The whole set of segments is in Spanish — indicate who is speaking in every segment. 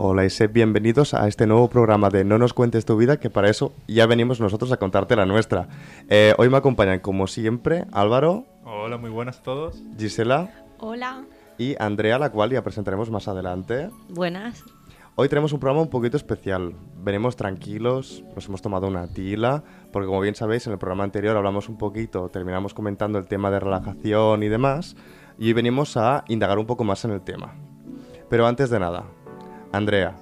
Speaker 1: Hola y sed bienvenidos a este nuevo programa de No nos cuentes tu vida, que para eso ya venimos nosotros a contarte la nuestra. Eh, hoy me acompañan, como siempre, Álvaro,
Speaker 2: Hola, muy buenas a todos.
Speaker 1: Gisela
Speaker 3: Hola.
Speaker 1: y Andrea, la cual ya presentaremos más adelante.
Speaker 3: Buenas.
Speaker 1: Hoy tenemos un programa un poquito especial. Venimos tranquilos, nos hemos tomado una tila, porque como bien sabéis, en el programa anterior hablamos un poquito, terminamos comentando el tema de relajación y demás, y hoy venimos a indagar un poco más en el tema. Pero antes de nada, Andrea,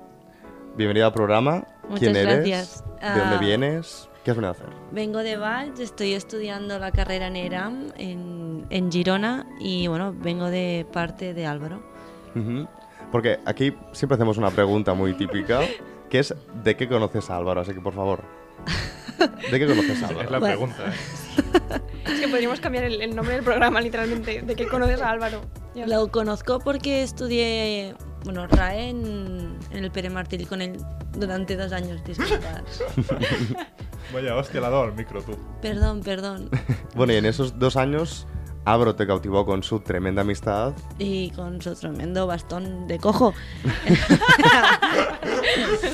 Speaker 1: bienvenida al programa.
Speaker 3: Muchas
Speaker 1: ¿Quién eres?
Speaker 3: gracias.
Speaker 1: ¿De dónde
Speaker 3: Ah.
Speaker 1: vienes? ¿Qué has venido a hacer?
Speaker 3: Vengo de Valls, estoy estudiando la carrera en ERAM en, en Girona y bueno, vengo de parte de Álvaro.
Speaker 1: Ujú. Porque aquí siempre hacemos una pregunta muy típica, que es ¿de qué conoces a Álvaro? Así que por favor, ¿de qué conoces a
Speaker 2: Es
Speaker 1: Álvaro?
Speaker 2: la
Speaker 3: Bueno.
Speaker 2: pregunta. ¿eh?
Speaker 4: Es que podríamos cambiar el, el nombre del programa, literalmente. ¿De qué conoces a Álvaro? Ya está.
Speaker 3: Lo conozco porque estudié, bueno, RAE en, en el Pere Martí con él durante dos años, disculpad.
Speaker 2: Vaya, hostia, la ha dado al micro tú.
Speaker 3: perdón, perdón.
Speaker 1: Bueno, y en esos dos años, Abro te cautivó con su tremenda amistad.
Speaker 3: Y con su tremendo bastón de cojo.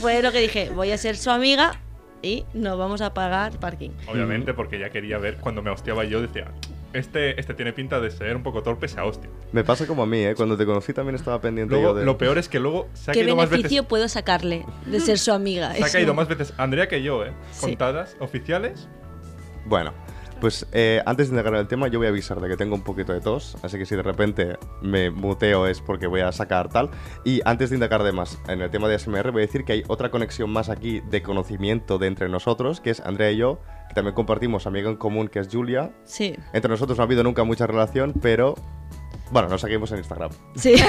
Speaker 3: Fue lo que dije, voy a ser su amiga y no vamos a pagar parking.
Speaker 1: Mm.
Speaker 2: Obviamente, porque ya quería ver cuando me hostiaba yo, decía, este, este tiene pinta de ser un poco torpe, se hostia.
Speaker 1: Me pasa como a mí, ¿eh? Cuando te conocí también estaba pendiente
Speaker 2: Luego,
Speaker 1: yo de...
Speaker 2: lo peor es que luego se ha
Speaker 3: ¿Qué
Speaker 2: caído más
Speaker 3: beneficio
Speaker 2: veces.
Speaker 3: puedo sacarle de ser su amiga?
Speaker 2: Se ha
Speaker 3: Eso.
Speaker 2: caído más veces Andrea que yo, ¿eh?
Speaker 3: Sí.
Speaker 2: Contadas, oficiales.
Speaker 1: Bueno, pues eh, antes de indagar en el tema, yo voy a avisar de que tengo un poquito de tos, así que si de repente me muteo es porque voy a sacar tal. Y antes de indagar de más en el tema de ASMR, voy a decir que hay otra conexión más aquí de conocimiento de entre nosotros, que es Andrea y yo, que también compartimos amiga en común, que es Julia.
Speaker 3: Sí,
Speaker 1: Entre nosotros no ha habido nunca mucha relación, pero... Bueno, nos seguimos en Instagram.
Speaker 3: sí.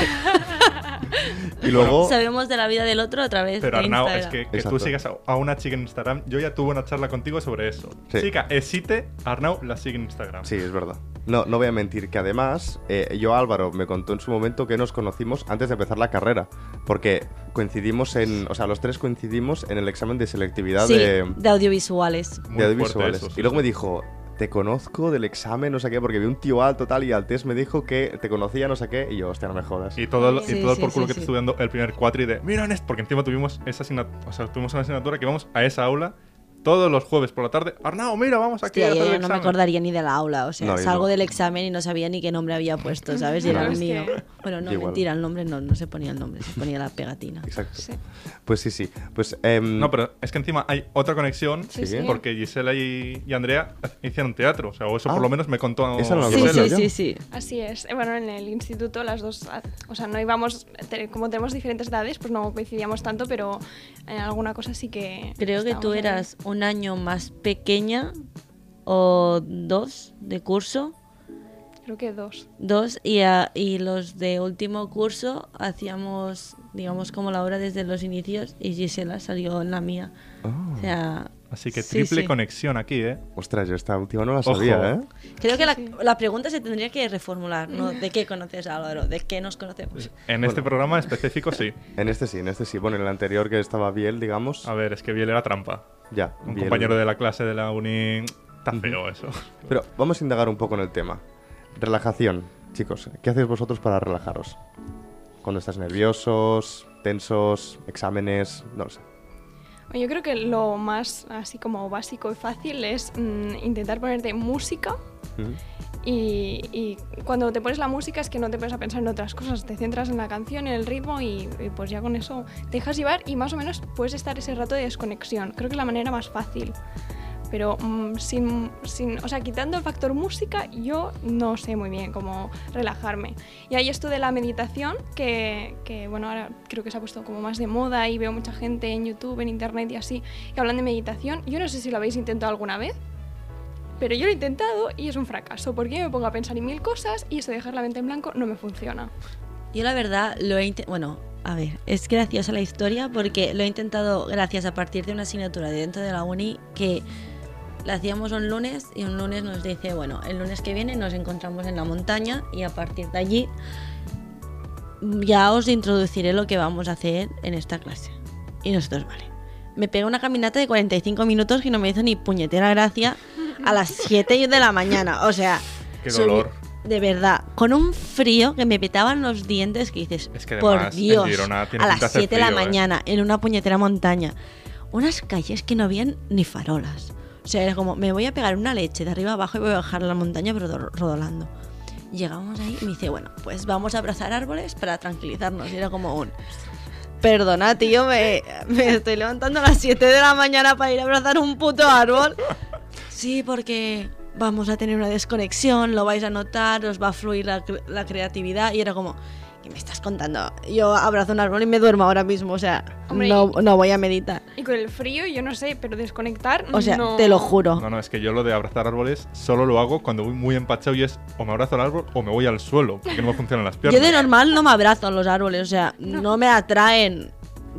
Speaker 1: Y luego...
Speaker 3: Sabemos de la vida del otro otra vez.
Speaker 2: Pero
Speaker 3: de
Speaker 2: Arnau, es
Speaker 3: Instagram.
Speaker 2: que, que
Speaker 1: Exacto.
Speaker 2: tú sigas a, a una chica en Instagram. Yo ya tuve una charla contigo sobre eso.
Speaker 1: Sí.
Speaker 2: Chica, exite, Arnau la sigue en Instagram.
Speaker 1: Sí, es verdad. No, no voy a mentir que además eh, yo Álvaro me contó en su momento que nos conocimos antes de empezar la carrera, porque coincidimos en, o sea, los tres coincidimos en el examen de selectividad
Speaker 3: Sí,
Speaker 1: de,
Speaker 3: de audiovisuales.
Speaker 1: de
Speaker 2: Muy fuerte
Speaker 1: audiovisuales.
Speaker 2: eso, sí,
Speaker 1: y luego
Speaker 2: sí.
Speaker 1: me dijo, te conozco del examen, no sé qué, porque vi un tío alto tal y al test me dijo que te conocía, no sé qué, y yo, hostia, no me jodas.
Speaker 2: Y todo, el- y
Speaker 3: Sí,
Speaker 2: todo el
Speaker 3: sí,
Speaker 2: por culo
Speaker 3: sí,
Speaker 2: que te
Speaker 3: sí.
Speaker 2: estuve dando el primer cuatri de, mira, Nest, porque encima tuvimos esa asignatura, o sea, tuvimos una asignatura que vamos a esa aula todos los jueves por la tarde. Arnau, mira, vamos aquí
Speaker 3: Hostia,
Speaker 2: a
Speaker 3: yo
Speaker 2: hacer
Speaker 3: ya
Speaker 2: el
Speaker 3: no me
Speaker 2: examen".
Speaker 3: acordaría ni de la aula, o sea,
Speaker 1: No, yo
Speaker 3: salgo
Speaker 1: no.
Speaker 3: del examen y no sabía ni qué nombre había puesto, ¿sabes? Y
Speaker 1: Claro,
Speaker 3: era el
Speaker 4: es
Speaker 3: mío.
Speaker 4: que-
Speaker 3: Bueno, no,
Speaker 1: Yo igual.
Speaker 3: mentira, el nombre no, no se ponía el nombre, se ponía la pegatina.
Speaker 1: Exacto.
Speaker 4: Sí.
Speaker 1: Pues sí, sí. Pues, em,
Speaker 2: No, pero es que encima hay otra conexión
Speaker 4: Sí,
Speaker 1: Sí.
Speaker 4: sí.
Speaker 2: porque Gisela y, y Andrea hicieron teatro, o sea, o eso
Speaker 1: Ah.
Speaker 2: por lo menos me contó
Speaker 1: Eso no lo
Speaker 3: Sí,
Speaker 2: Gisela.
Speaker 1: Gisela,
Speaker 3: sí,
Speaker 1: yo.
Speaker 3: sí, sí.
Speaker 4: Así es. Eh, Bueno, en el instituto las dos, ah, o sea, no íbamos, te- como tenemos diferentes edades, pues no coincidíamos tanto, pero en alguna cosa sí que...
Speaker 3: Creo que
Speaker 4: estábamos
Speaker 3: tú
Speaker 4: ahí.
Speaker 3: eras un año más pequeña o dos de curso.
Speaker 4: Creo que dos.
Speaker 3: Dos y, a- y los de último curso hacíamos, digamos, como la hora desde los inicios y Gisela salió en la mía.
Speaker 1: Ah.
Speaker 3: O sea,
Speaker 2: Así que
Speaker 3: sí,
Speaker 2: triple
Speaker 3: sí.
Speaker 2: conexión aquí, ¿eh?
Speaker 1: Ostras, yo esta última no la
Speaker 2: Ojo.
Speaker 1: sabía, ¿eh?
Speaker 3: Creo que la,
Speaker 4: Sí, sí.
Speaker 3: la pregunta se tendría que reformular, ¿no? ¿De qué conoces a Álvaro? ¿De qué nos conocemos?
Speaker 2: En este programa específico sí.
Speaker 1: En este sí, en este sí. Bueno, en el anterior que estaba Biel, digamos.
Speaker 2: A ver, es que Biel era trampa.
Speaker 1: Ya.
Speaker 2: Un
Speaker 1: Biel.
Speaker 2: compañero de la clase de la uni... Está feo eso.
Speaker 1: Pero vamos a indagar un poco en el tema. Relajación, chicos. ¿Qué hacéis vosotros para relajaros? Cuando estás nerviosos, tensos, exámenes, no lo sé.
Speaker 4: Yo creo que lo más así como básico y fácil es mm, intentar ponerte música
Speaker 1: Ujú.
Speaker 4: Y, y cuando te pones la música es que no te pones a pensar en otras cosas, te centras en la canción, en el ritmo y, y pues ya con eso te dejas llevar y más o menos puedes estar ese rato de desconexión. Creo que es la manera más fácil. Pero mm, sin, sin, o sea, quitando el factor música, yo no sé muy bien cómo relajarme. Y hay esto de la meditación, que, que, bueno, ahora creo que se ha puesto como más de moda y veo mucha gente en YouTube, en Internet y así, que hablan de meditación. Yo no sé si lo habéis intentado alguna vez. Pero yo lo he intentado y es un fracaso, porque yo me pongo a pensar en mil cosas y eso de dejar la mente en blanco no me funciona.
Speaker 3: Yo la verdad lo he intentado... Bueno, a ver, es graciosa la historia porque lo he intentado gracias a partir de una asignatura de dentro de la uni que La hacíamos un lunes y un lunes nos dice, bueno, el lunes que viene nos encontramos en la montaña y a partir de allí ya os introduciré lo que vamos a hacer en esta clase. Y nosotros, vale. Me pegó una caminata de 45 minutos que no me hizo ni puñetera gracia a las 7 de la mañana. O sea,
Speaker 2: Qué
Speaker 3: subí-
Speaker 2: dolor.
Speaker 3: de verdad, con un frío que me petaban los dientes que dices,
Speaker 2: Es que
Speaker 3: por
Speaker 2: además, en
Speaker 3: Dios,
Speaker 2: Girona tiene pinta
Speaker 3: a
Speaker 2: de
Speaker 3: las
Speaker 2: hacer
Speaker 3: 7 de la
Speaker 2: frío, ¿eh?
Speaker 3: mañana en una puñetera montaña. Unas calles que no habían ni farolas. O sea, era como, me voy a pegar una leche de arriba abajo y voy a bajar a la montaña pero do- rodolando. Llegamos ahí y me dice, bueno, pues vamos a abrazar árboles para tranquilizarnos. Y era como un... Perdona, tío, me, me estoy levantando a las 7 de la mañana para ir a abrazar un puto árbol. Sí, porque vamos a tener una desconexión, lo vais a notar, os va a fluir la, cre- la creatividad. Y era como, ¿qué me estás contando? Yo abrazo un árbol y me duermo ahora mismo, o sea,
Speaker 4: Hombre,
Speaker 3: no, no voy a meditar.
Speaker 4: Y con el frío, yo no sé, pero desconectar.
Speaker 3: O sea,
Speaker 4: no.
Speaker 3: te lo juro.
Speaker 2: No, no, es que yo lo de abrazar árboles solo lo hago cuando voy muy empachado y es o me abrazo al árbol o me voy al suelo, porque no me funcionan las
Speaker 3: Yo
Speaker 2: piernas.
Speaker 3: de normal no me abrazo a los árboles, o sea, no, me atraen.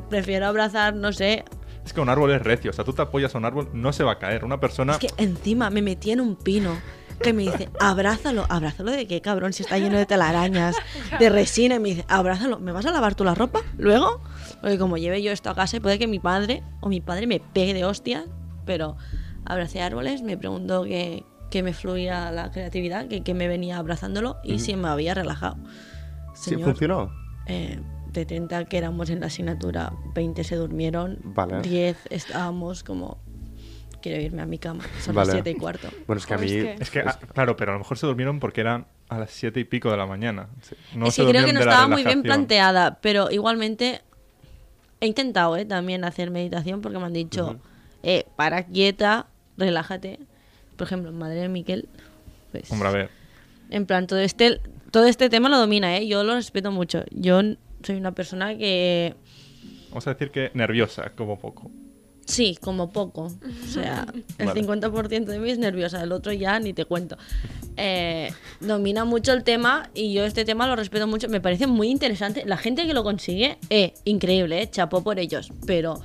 Speaker 3: Prefiero abrazar, no sé.
Speaker 2: Es que un árbol es recio, o sea, tú te apoyas a un árbol, no se va a caer. Una persona...
Speaker 3: Es que encima me metí en un pino que me dice, abrázalo, abrázalo de qué cabrón, si está lleno de telarañas, de resina. Y me dice, abrázalo, ¿me vas a lavar tú la ropa luego? Porque como lleve yo esto a casa, puede que mi padre o mi padre me pegue de hostias, pero abracé árboles, me preguntó que, que me fluía la creatividad, que, que me venía abrazándolo y si me había relajado.
Speaker 1: Sí,
Speaker 3: Señor,
Speaker 1: funcionó.
Speaker 3: Eh, de 30 que éramos en la asignatura, 20 se durmieron,
Speaker 1: Vale.
Speaker 3: 10 estábamos como, quiero irme a mi cama, son
Speaker 1: Vale.
Speaker 3: las 7 y cuarto.
Speaker 1: Bueno, es que a mí.
Speaker 4: Joder, es que-
Speaker 2: Es que, ah, claro, pero a lo mejor se durmieron porque eran a las siete y pico de la mañana. No
Speaker 3: es
Speaker 2: se
Speaker 3: que creo
Speaker 2: durmieron
Speaker 3: que no
Speaker 2: de la
Speaker 3: estaba muy
Speaker 2: relajación.
Speaker 3: bien planteada, pero igualmente he intentado eh, también hacer meditación porque me han dicho, eh, para quieta, relájate. Por ejemplo, madre de Miquel, pues,
Speaker 2: Hombre, a ver.
Speaker 3: en plan, todo este, todo este tema lo domina, ¿eh? yo lo respeto mucho. Yo n- soy una persona que
Speaker 2: Vamos a decir que nerviosa, como poco.
Speaker 3: Sí, como poco. O sea, el
Speaker 2: Vale.
Speaker 3: 50% de mí es nerviosa, el otro ya ni te cuento. Eh, domina mucho el tema y yo este tema lo respeto mucho. Me parece muy interesante. La gente que lo consigue, eh, increíble, eh, chapó por ellos. Pero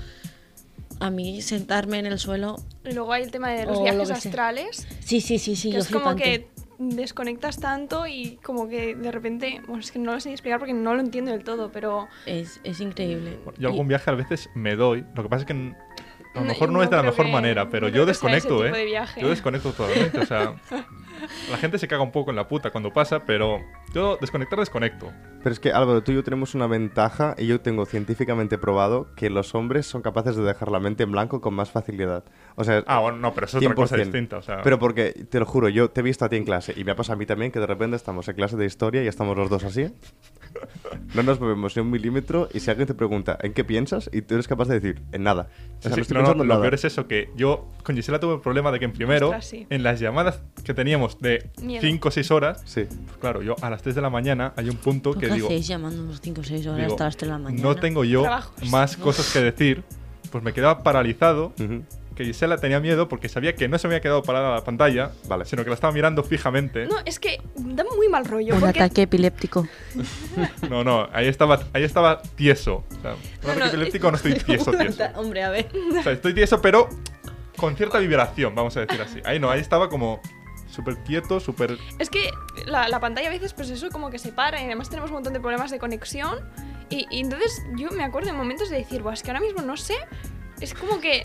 Speaker 3: a mí sentarme en el suelo...
Speaker 4: Y Luego hay el tema de los
Speaker 3: O lo
Speaker 4: viajes
Speaker 3: que sea.
Speaker 4: astrales,
Speaker 3: Sí, sí, sí, sí,
Speaker 4: que
Speaker 3: yo
Speaker 4: es como
Speaker 3: flipante.
Speaker 4: que desconectas tanto y como que de repente, bueno, es que no lo sé explicar porque no lo entiendo del todo, pero
Speaker 3: Es, es increíble.
Speaker 2: Yo algún
Speaker 3: Y-
Speaker 2: viaje a veces me doy. Lo que pasa es que n- a lo
Speaker 4: No,
Speaker 2: mejor no,
Speaker 4: no
Speaker 2: es de la
Speaker 4: creo
Speaker 2: mejor
Speaker 4: que-
Speaker 2: manera, pero
Speaker 4: no
Speaker 2: yo
Speaker 4: creo que sea ese
Speaker 2: desconecto,
Speaker 4: tipo de
Speaker 2: ¿eh?
Speaker 4: viaje.
Speaker 2: Yo desconecto totalmente. O sea, la gente se caga un poco en la puta cuando pasa, pero yo desconectar, desconecto.
Speaker 1: Pero es que Álvaro, tú y yo tenemos una ventaja y yo tengo científicamente probado que los hombres son capaces de dejar la mente en blanco con más facilidad. O sea,
Speaker 2: Ah, bueno, no, pero es otra cosa
Speaker 1: 100%.
Speaker 2: distinta. O sea,
Speaker 1: Pero porque, te lo juro, yo te he visto a ti en clase y me ha pasado a mí también que de repente estamos en clase de historia y estamos los dos así. No nos movemos ni un milímetro y si alguien te pregunta ¿en qué piensas? y tú eres capaz de decir en nada. O sea,
Speaker 2: Sí,
Speaker 1: no
Speaker 2: sí,
Speaker 1: estoy
Speaker 2: no, no,
Speaker 1: pensando en
Speaker 2: lo
Speaker 1: nada.
Speaker 2: peor es eso, que yo con Gisela tuve el problema de que en primero,
Speaker 4: Ostras, sí.
Speaker 2: en las llamadas que teníamos de
Speaker 4: Miedo.
Speaker 2: 5 o 6 horas,
Speaker 1: Sí.
Speaker 2: pues claro, yo a las 3 de la mañana hay un punto
Speaker 3: ¿Por
Speaker 2: que
Speaker 3: ¿Qué
Speaker 2: digo,
Speaker 3: hacéis llamándonos 5 o 6 horas
Speaker 2: digo,
Speaker 3: hasta las 3 de la mañana?
Speaker 2: no tengo yo
Speaker 4: Trabajos.
Speaker 2: más cosas que decir, pues me quedaba paralizado,
Speaker 1: Ujú.
Speaker 2: que Gisela tenía miedo porque sabía que no se me había quedado parada la pantalla,
Speaker 1: Vale.
Speaker 2: sino que la estaba mirando fijamente.
Speaker 4: no, es que da muy mal rollo
Speaker 3: Un
Speaker 4: porque
Speaker 3: ataque epiléptico.
Speaker 2: No, no, ahí estaba, ahí estaba tieso. O sea, no,
Speaker 3: no,
Speaker 2: no estoy tieso, tieso.
Speaker 3: Un ata- Hombre, a ver.
Speaker 2: O sea, estoy tieso, pero con cierta vibración, vamos a decir así. Ahí no, ahí estaba como súper quieto, súper...
Speaker 4: es que la, la pantalla a veces pues eso como que se para y además tenemos un montón de problemas de conexión y, y entonces yo me acuerdo en momentos de decir, "Buah, es que ahora mismo no sé, es como que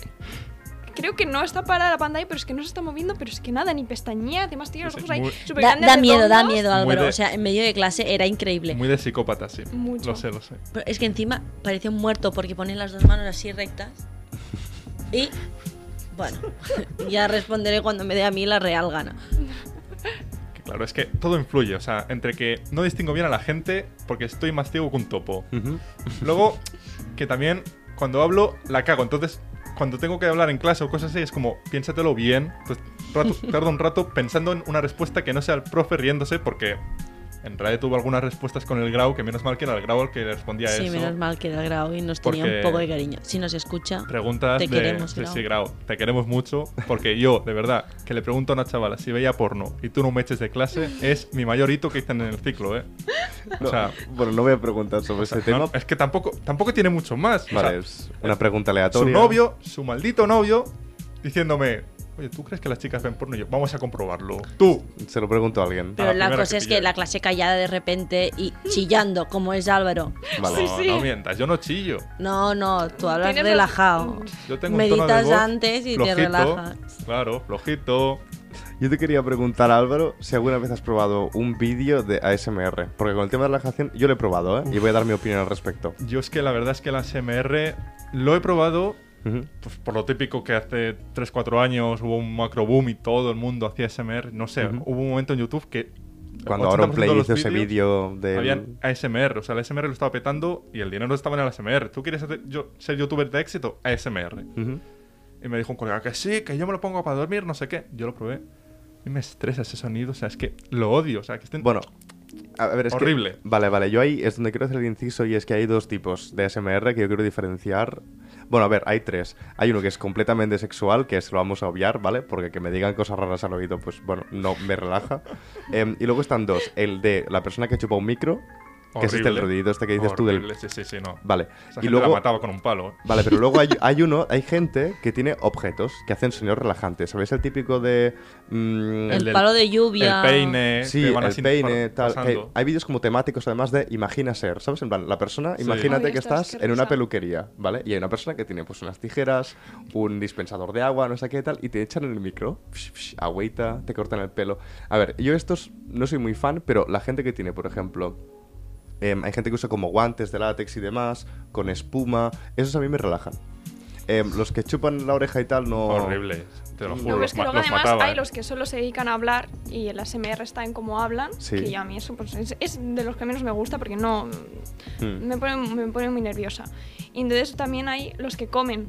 Speaker 4: creo que no está parada la pantalla, pero es que no se está moviendo, pero es que nada, ni pestañea, además tiene los
Speaker 2: Sí, sí,
Speaker 4: ojos ahí
Speaker 2: muy-
Speaker 4: súper
Speaker 3: Da,
Speaker 4: grandes,
Speaker 3: da miedo, da
Speaker 4: redondos.
Speaker 3: miedo,
Speaker 2: Muy
Speaker 3: Álvaro.
Speaker 2: de-
Speaker 3: O sea, en medio de clase era increíble.
Speaker 2: Muy de psicópata, sí.
Speaker 4: Mucho.
Speaker 2: Lo sé, lo sé.
Speaker 3: Pero es que encima parece un muerto porque pone las dos manos así rectas. Y bueno, ya responderé cuando me dé a mí la real gana.
Speaker 2: Que claro, es que todo influye. O sea, entre que no distingo bien a la gente porque estoy más ciego que un topo.
Speaker 1: Ujú.
Speaker 2: Luego, que también cuando hablo la cago. Entonces, cuando tengo que hablar en clase o cosas así, es como, piénsatelo bien. Entonces, rato- tardo un rato pensando en una respuesta que no sea el profe riéndose porque... En realidad tuvo algunas respuestas con el grau, que menos mal que era el grau el que le respondía a
Speaker 3: sí,
Speaker 2: eso.
Speaker 3: menos mal que era grado y nos tenía
Speaker 2: Porque-
Speaker 3: un poco de cariño. Si nos escucha,
Speaker 2: preguntas
Speaker 3: Te
Speaker 2: de
Speaker 3: queremos,
Speaker 2: sí,
Speaker 3: Grau.
Speaker 2: sí, Grau, te queremos mucho porque yo de verdad que le pregunto a una chavala si veía porno y tú no me eches de clase es mi mayor hito que dicen en el ciclo eh o
Speaker 1: No,
Speaker 2: sea
Speaker 1: bueno, no voy a preguntar sobre ese
Speaker 2: no,
Speaker 1: tema.
Speaker 2: es que tampoco tampoco tiene mucho más O
Speaker 1: Vale,
Speaker 2: sea,
Speaker 1: es una pregunta
Speaker 2: su
Speaker 1: aleatoria.
Speaker 2: novio su maldito novio diciéndome Oye, ¿tú crees que las chicas ven porno? Y yo, vamos a comprobarlo. Tú.
Speaker 1: Se lo pregunto a alguien.
Speaker 3: Pero
Speaker 2: A la
Speaker 3: la,
Speaker 2: primera
Speaker 3: cosa
Speaker 2: que
Speaker 3: es que
Speaker 2: pillan.
Speaker 3: la clase callada de repente y chillando, como es Álvaro.
Speaker 1: Vale.
Speaker 2: no, no mientas, yo no chillo.
Speaker 3: No, no, tú hablas
Speaker 4: Tienes
Speaker 3: relajado.
Speaker 2: Yo tengo un tono de
Speaker 3: Meditas
Speaker 2: voz
Speaker 3: antes y
Speaker 2: flojito,
Speaker 3: te relajas.
Speaker 2: Claro, flojito.
Speaker 1: Yo te quería preguntar, Álvaro, si alguna vez has probado un vídeo de ASMR. Porque con el tema de la relajación, yo lo he probado, ¿eh? Y voy a dar mi opinión al respecto.
Speaker 2: Yo es que la verdad es que la SMR lo he probado
Speaker 1: Ujú.
Speaker 2: pues, por lo típico que hace 3-4 años hubo un macro boom y todo el mundo hacía SMR. No sé,
Speaker 1: Ujú.
Speaker 2: hubo un momento en YouTube que.
Speaker 1: Cuando Aaron
Speaker 2: 80%
Speaker 1: Play
Speaker 2: de los
Speaker 1: hizo ese vídeo
Speaker 2: vídeos
Speaker 1: de.
Speaker 2: Habían ASMR, o sea, el ASMR lo estaba petando y el dinero estaba en el ASMR. ¿Tú quieres hacer- yo- ser youtuber de éxito? ASMR. Y me dijo un colega que sí, que yo me lo pongo para dormir, no sé qué. Yo lo probé. Y me estresa ese sonido, o sea, es que lo odio, o sea, que estén...
Speaker 1: Bueno, a ver, es que-
Speaker 2: Horrible.
Speaker 1: vale, vale, yo ahí es donde quiero hacer el inciso y es que hay dos tipos de ASMR que yo quiero diferenciar. Bueno, a ver, hay tres. Hay uno que es completamente sexual, que se lo vamos a obviar, ¿vale? Porque que me digan cosas raras al oído, pues bueno, no me relaja. Em, y luego están dos. El de la persona que chupa un micro, que es este el
Speaker 2: Horrible.
Speaker 1: ruidito este que dices tú
Speaker 2: Horrible,
Speaker 1: del...
Speaker 2: Sí, sí, sí, no.
Speaker 1: Vale.
Speaker 2: Esa
Speaker 1: y
Speaker 2: gente
Speaker 1: luego...
Speaker 2: la mataba con un palo. ¿eh?
Speaker 1: Vale, pero luego hay, hay uno, hay gente que tiene objetos que hacen sonidos relajantes. ¿Sabéis el típico de... mm,
Speaker 3: El
Speaker 2: del-
Speaker 3: palo de lluvia.
Speaker 2: El peine,
Speaker 1: Sí,
Speaker 2: ¿eh? que van
Speaker 1: el
Speaker 2: así
Speaker 1: peine,
Speaker 2: pa-
Speaker 1: tal. que
Speaker 2: pasando.
Speaker 1: hay vídeos como temáticos además de imagina ser, ¿sabes? En plan, la persona,
Speaker 2: Sí.
Speaker 1: imagínate
Speaker 4: Ay,
Speaker 1: que
Speaker 4: ostras,
Speaker 1: estás
Speaker 4: qué
Speaker 1: en una
Speaker 4: risa.
Speaker 1: peluquería, ¿vale? Y hay una persona que tiene pues unas tijeras, un dispensador de agua, no sé qué tal, y te echan en el micro, psh, psh, agüita, te cortan el pelo. A ver, yo estos no soy muy fan, pero la gente que tiene, por ejemplo... em, hay gente que usa como guantes de látex y demás, con espuma. Esos a mí me relajan. Em, los que chupan la oreja y tal no...
Speaker 2: Horrible, te lo
Speaker 1: No,
Speaker 2: juro.
Speaker 4: No, pero
Speaker 2: los,
Speaker 4: es que
Speaker 2: ma-
Speaker 4: luego
Speaker 2: los
Speaker 4: además
Speaker 2: mataba,
Speaker 4: hay
Speaker 2: ¿eh?
Speaker 4: los que solo se dedican a hablar y el ASMR está en cómo hablan,
Speaker 1: Sí.
Speaker 4: que ya a mí eso pues, es, es de los que menos me gusta porque no
Speaker 1: Hmm.
Speaker 4: me pone, me pone muy nerviosa. Y entonces también hay los que comen.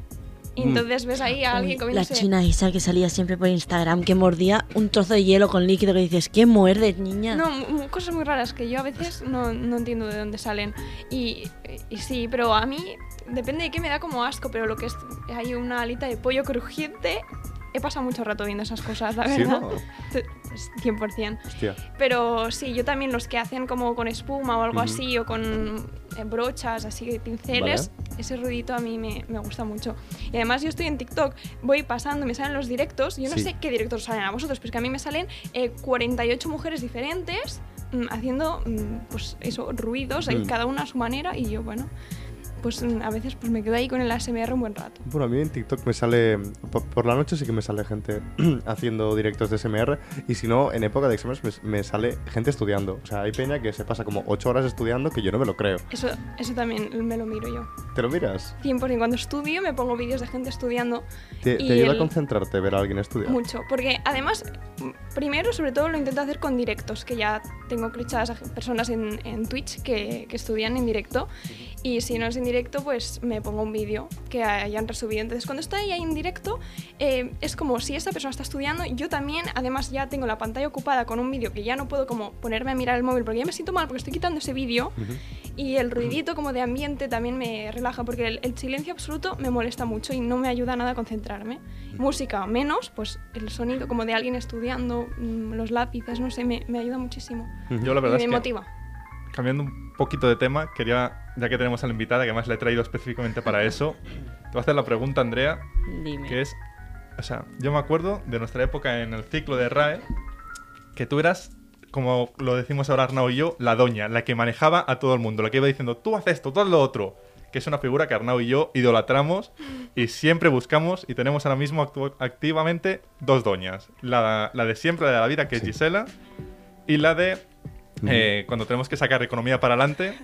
Speaker 4: Y
Speaker 1: Mm.
Speaker 4: entonces ves ahí a alguien
Speaker 3: Uy, la
Speaker 4: comiéndose
Speaker 3: china Isa que salía siempre por Instagram, que mordía un trozo de hielo con líquido que dices, ¿qué muerdes, niña?
Speaker 4: No, mu- mu- cosas muy raras que yo a veces no, no entiendo de dónde salen. Y, y sí, pero a mí depende de qué me da como asco, pero lo que es hay una alita de pollo crujiente, he pasado mucho rato viendo esas cosas, la
Speaker 1: ¿Sí, Oh.
Speaker 4: verdad.
Speaker 1: no?
Speaker 4: Te- 100%.
Speaker 1: Hostia.
Speaker 4: Pero sí, yo también los que hacen como con espuma o algo
Speaker 1: Ujú.
Speaker 4: así, o con eh, brochas, así, pinceles, ese ruidito a mí me, me gusta mucho. Y además yo estoy en TikTok, voy pasando, me salen los directos, yo no
Speaker 1: Sí.
Speaker 4: sé qué directos os salen a vosotros, pero es que a mí me salen eh, 48 mujeres diferentes mm, haciendo, mm, pues eso, ruidos, ahí
Speaker 1: Mm.
Speaker 4: cada una a su manera, y yo, bueno, pues mm, a veces pues me quedo ahí con el ASMR un buen rato.
Speaker 1: Bueno, a mí en TikTok me sale. po- Por la noche sí que me sale gente haciendo directos de SMR. Y si no, en época de exámenes me, me sale gente estudiando. O sea, hay peña que se pasa como 8 horas estudiando que yo no me lo creo.
Speaker 4: Eso, eso también me lo miro yo.
Speaker 1: ¿Te lo miras?
Speaker 4: 100%. Cuando estudio me pongo vídeos de gente estudiando
Speaker 1: ¿Te, te
Speaker 4: Y
Speaker 1: ayuda a
Speaker 4: el-
Speaker 1: concentrarte ver a alguien estudiar?
Speaker 4: Mucho, porque además, m- primero, sobre todo, lo intento hacer con directos, que ya tengo clichadas a gen- personas en, en Twitch que, que estudian en directo. Y si no es en directo, pues me pongo un vídeo que hayan resubido. Entonces, cuando estoy ahí en directo, eh, es como si esa persona está estudiando, yo también, además, ya tengo la pantalla ocupada con un vídeo que ya no puedo como ponerme a mirar el móvil, porque ya me siento mal, porque estoy quitando ese vídeo. Y el ruidito como de ambiente también me relaja, porque el, el silencio absoluto me molesta mucho y no me ayuda nada a concentrarme. Música menos, pues el sonido como de alguien estudiando, mm, los lápices, no sé, me, me ayuda muchísimo.
Speaker 2: Yo la
Speaker 4: Y
Speaker 2: verdad
Speaker 4: me
Speaker 2: es que,
Speaker 4: motiva.
Speaker 2: cambiando un poquito de tema, quería, ya que tenemos a la invitada, que además la he traído específicamente para eso, te voy a hacer la pregunta, Andrea,
Speaker 3: Dime.
Speaker 2: que es, o sea, yo me acuerdo de nuestra época en el ciclo de RAE, que tú eras, como lo decimos ahora Arnau y yo, la doña, la que manejaba a todo el mundo, la que iba diciendo, tú haz esto, tú haz lo otro, que es una figura que Arnau y yo idolatramos y siempre buscamos y tenemos ahora mismo actu- activamente dos doñas, la, la de siempre, la de la vida, que es
Speaker 1: Sí.
Speaker 2: Gisela, y la de... eh, cuando tenemos que sacar economía para adelante,